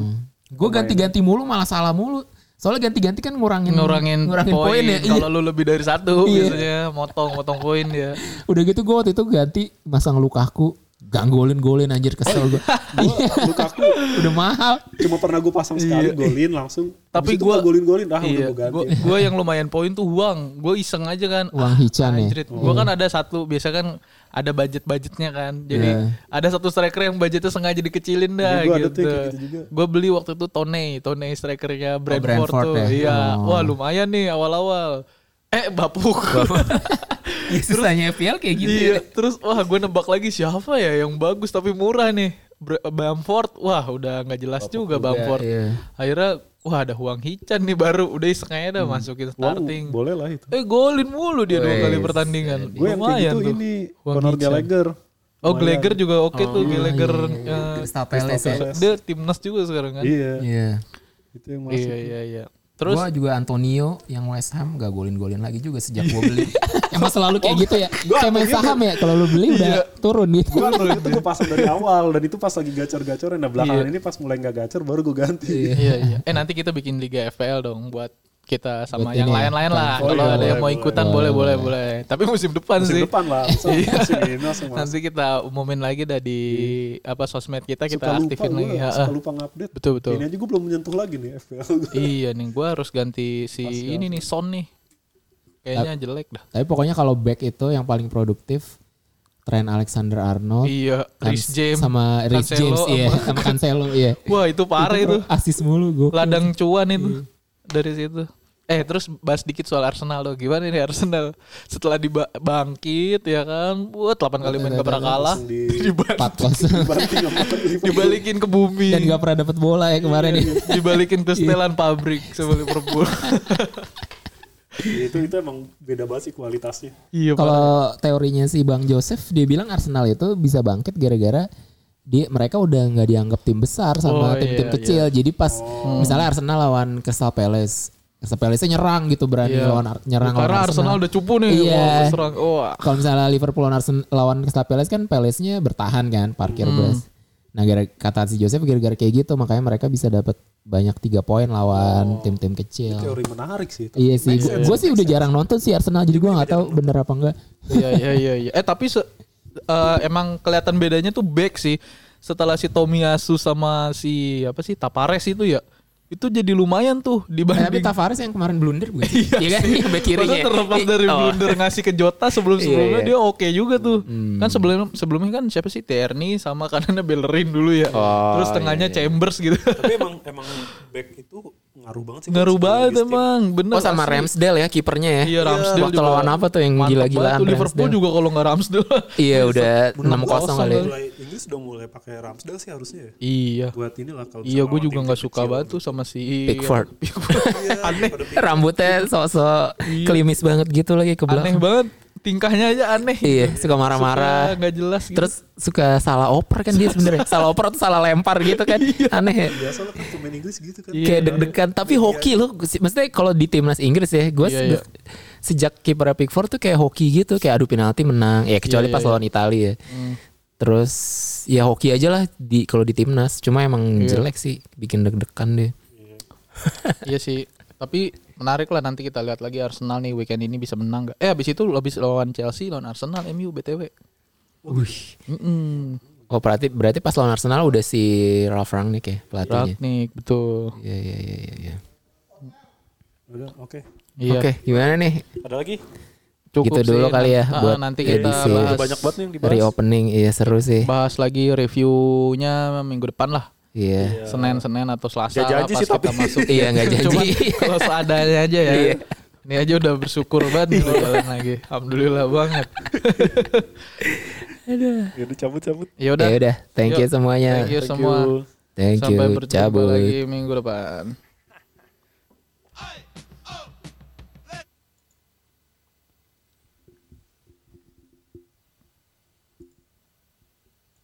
B: Gue ganti-ganti mulu malah salah mulu. Soalnya ganti-ganti kan ngurangin
A: Ngurangin, poin,
B: ya. Iya.
A: kalau lu lebih dari satu
B: Iya.
A: biasanya motong-motong poin ya.
B: Udah gitu gue waktu itu ganti masang Lukaku ganggolin-golin anjir kesel gue.
C: Gue Lukaku
B: Udah mahal.
C: cuma pernah gue pasang sekali golin langsung.
A: Iya. Tapi
C: Habis itu
A: gua-
C: nggak golin-golin ah udah
A: iya,
C: gue ganti.
A: gue gue yang lumayan poin tuh uang. Gue iseng aja kan.
B: Uang Hichan ya.
A: Anjrit, gue kan ada satu biasa kan ada budget-budgetnya kan. Jadi
B: Iya.
A: ada satu striker yang budgetnya sengaja dikecilin dah
C: Iya, gua ada
A: gitu.
C: tuh yang kayak gitu juga.
A: Gue beli waktu itu Tone, Tone strikernya Brentford,
B: Brentford
A: tuh.
B: ya.
A: Iya.
B: Oh.
A: Wah, lumayan nih awal-awal. Eh, bapuk. Gitu.
B: Susahnya FPL kayak
A: ya. iya, terus wah gue nebak lagi siapa ya yang bagus tapi murah nih. Bre- Bamford wah udah nggak jelas juga Bamford.
B: iya.
A: Akhirnya wah ada Huang Hichan nih baru udah iseng aja
B: Hmm.
A: dah
D: Wow,
A: masukin starting.
D: boleh lah itu.
A: Eh golin mulu dia dua
B: Wes,
A: kali pertandingan.
D: Gue yang kayak gitu ini
A: Huang
D: Conor
A: Hichan.
D: Gallagher.
A: ya? Oh Gallagher juga oke tuh
B: iya,
A: Gallagher
B: iya, iya.
A: eh,
B: Crystal Palace ya.
D: Palace.
A: dia timnas juga sekarang kan.
D: Iya,
B: Iya.
D: itu yang masuk.
A: Iya iya iya.
B: Terus
A: Terus
B: gua juga Antonio yang West Ham gak golin-golin lagi juga sejak gua beli. Emang selalu
A: Oh,
B: kayak gitu ya. Kayak main saham ya kalau lu beli
A: Iya.
B: udah turun gitu.
D: Gue itu
A: ya.
D: gue pasang dari awal dan itu pas lagi gacor-gacor nah belakangan ini pas mulai nggak gacor baru gue ganti.
A: iya iya. Eh nanti kita bikin Liga FPL dong buat kita sama
B: Buat
A: yang
B: ini ya.
A: lain-lain lah.
D: Oh,
A: Kalau
D: iya,
A: ada yang mau
D: boleh,
A: ikutan boleh boleh boleh. Tapi musim depan
D: Musim
A: sih.
D: depan lah, langsung musim ini langsung masuk.
A: Iya. Nanti kita umumin lagi dah di apa sosmed kita kita
D: suka lupa
A: aktifin
D: gue,
A: lagi. Ha,
D: suka
A: ah.
D: lupa ngupdate.
A: Betul betul.
D: Ini aja gue belum menyentuh lagi nih FPL. gua.
A: Iya nih gua harus ganti si ini nih Son nih. Kayaknya jelek dah.
B: Tapi pokoknya kalau back itu yang paling produktif Trent Alexander Arnold kan
A: Iya, Rich James.
B: Oh, sama Rich
A: Cancelo
B: James iya,
A: sama-
B: sama Cancelo iya.
A: Wah, itu parah itu.
B: Asis mulu gue.
A: ladang cuan
B: Iya.
A: itu dari situ. Eh terus bahas dikit soal Arsenal loh. Gimana nih Arsenal setelah dibangkit ya kan? Buat 8 kali main gak pernah kalah.
D: Langsung di
A: Diba-
B: 4
D: dibanting sama Liverpool.
A: dibalikin ke bumi.
B: dan gak pernah dapat bola ya kemarin
A: Iya,
B: ya.
A: dibalikin ke setelan pabrik sama Liverpool.
D: itu itu emang beda banget sih kualitasnya.
A: iya, Pak.
B: Kalau teorinya si Bang Joseph dia bilang Arsenal itu bisa bangkit gara-gara dia mereka udah nggak dianggap tim
A: Oh,
B: besar sama
A: iya,
B: tim-tim
A: Oh.
B: kecil. Jadi pas misalnya Arsenal lawan Crystal Palace, Crystal Palace nyerang gitu berani
A: Iya.
B: lawan Ar- nyerang
A: Karena
B: lawan
A: Arsenal udah cupu nih
B: Iya.
A: mau berserang. Wah.
B: Kalau misalnya Liverpool lawan, Arsen- lawan Crystal Palace kan Palace-nya bertahan kan, parkir
A: Hmm.
B: bus. Nah, gara kata si Joseph gara-gara kayak gitu makanya mereka bisa dapat banyak tiga poin
A: Oh.
B: lawan tim-tim kecil.
D: Teori menarik sih. tapi
B: Iya sih, gue sih udah jarang nonton sih Arsenal jadi gue nggak tahu bener apa enggak.
A: Iya iya iya iya. Eh tapi se- eh, emang kelihatan bedanya tuh back sih. Setelah si Tomiyasu sama si apa sih Tapares itu ya. Itu jadi lumayan tuh
B: Eh, Tapi
A: dibanding
B: Tavares yang kemarin blunder bukan? sih? Iya kan? Back
A: Padahal
B: kirinya.
A: terlepas dari
B: Oh.
A: blunder ngasih ke Jota sebelum-sebelumnya
B: Iya, Hmm.
A: dia oke juga tuh. Kan sebelum sebelumnya kan siapa sih Tierney sama kanannya Bellerin dulu ya.
B: Oh,
A: Terus tengahnya Chambers gitu.
D: tapi emang emang back itu ngaruh banget sih.
A: Ngaruh banget
D: Psikologis tim.
A: emang, bener.
B: Oh sama
A: asli.
B: Ramsdale ya kipernya ya.
A: Iya, Ramsdale
B: Waktu
A: juga.
B: lawan apa tuh yang
A: Mantap
B: gila-gilaan
A: banget tuh Liverpool
B: Ramsdale.
A: juga kalau nggak Ramsdale.
B: Iya udah 6-0 kali. ya.
D: Mulai Inggris udah mulai pakai Ramsdale sih harusnya ya.
A: iya.
D: Buat inilah kalau
A: Iya, gue juga nggak suka banget tuh sama si
B: Pickford.
A: Pickford.
D: Iya,
A: aneh,
B: Rambutnya sosok klimis banget gitu lagi ke
A: Iya. aneh
B: belakang.
A: banget. Tingkahnya aja aneh.
B: Iya, suka marah-marah.
A: Suka nggak jelas. Gitu.
B: Terus suka salah oper kan dia sebenarnya. salah oper atau salah lempar gitu kan.
A: Iya.
B: Aneh ya.
D: Biasa lah kan pemain Inggris gitu kan.
B: Kayak deg-degan tapi hoki loh. Maksudnya kalau di timnas Inggris ya, gue
A: Iya, iya.
B: sejak kiper Pickford tuh kayak hoki gitu, kayak adu penalti menang. Ya kecuali
A: Iya, Hmm. iya,
B: pas lawan Italia. ya. Terus ya hoki aja lah di kalau di timnas. Cuma emang jelek sih, bikin deg-degan deh.
A: iya sih. Tapi menarik lah nanti kita lihat lagi Arsenal nih weekend ini bisa menang nggak? Eh habis itu habis lawan Chelsea lawan Arsenal MU BTW. Mm-mm.
B: Oh berarti berarti pas lawan Arsenal udah si Ralf Rangnick ya pelatihnya.
A: Ragnik betul.
B: Iya iya iya iya. iya.
D: Udah, oke.
A: Iya.
B: Oke, gimana nih?
D: Ada lagi?
A: Cukup
B: Gitu dulu
A: sih.
B: kali ya
A: Ah,
B: buat
A: nanti
B: edisi.
A: kita bahas,
D: Banyak banget nih yang dibahas.
B: Reopening iya seru sih.
A: bahas lagi reviewnya minggu depan lah.
B: Iya.
A: Senin Senin atau
D: Nggak
A: Selasa lah
D: janji
A: pas
D: sih, tapi.
A: kita masuk.
B: Iya nggak
A: Cuman
B: janji. Iya.
A: kalau seadanya aja ya. Ini aja udah bersyukur banget nih jalan lagi. Alhamdulillah banget.
D: Ya udah cabut-cabut.
A: Ya udah.
B: Ya udah, thank you
A: Yuk,
B: semuanya.
A: Thank you semua.
B: Thank
A: Sampai
B: you.
A: berjumpa
B: Cabut.
A: lagi minggu depan.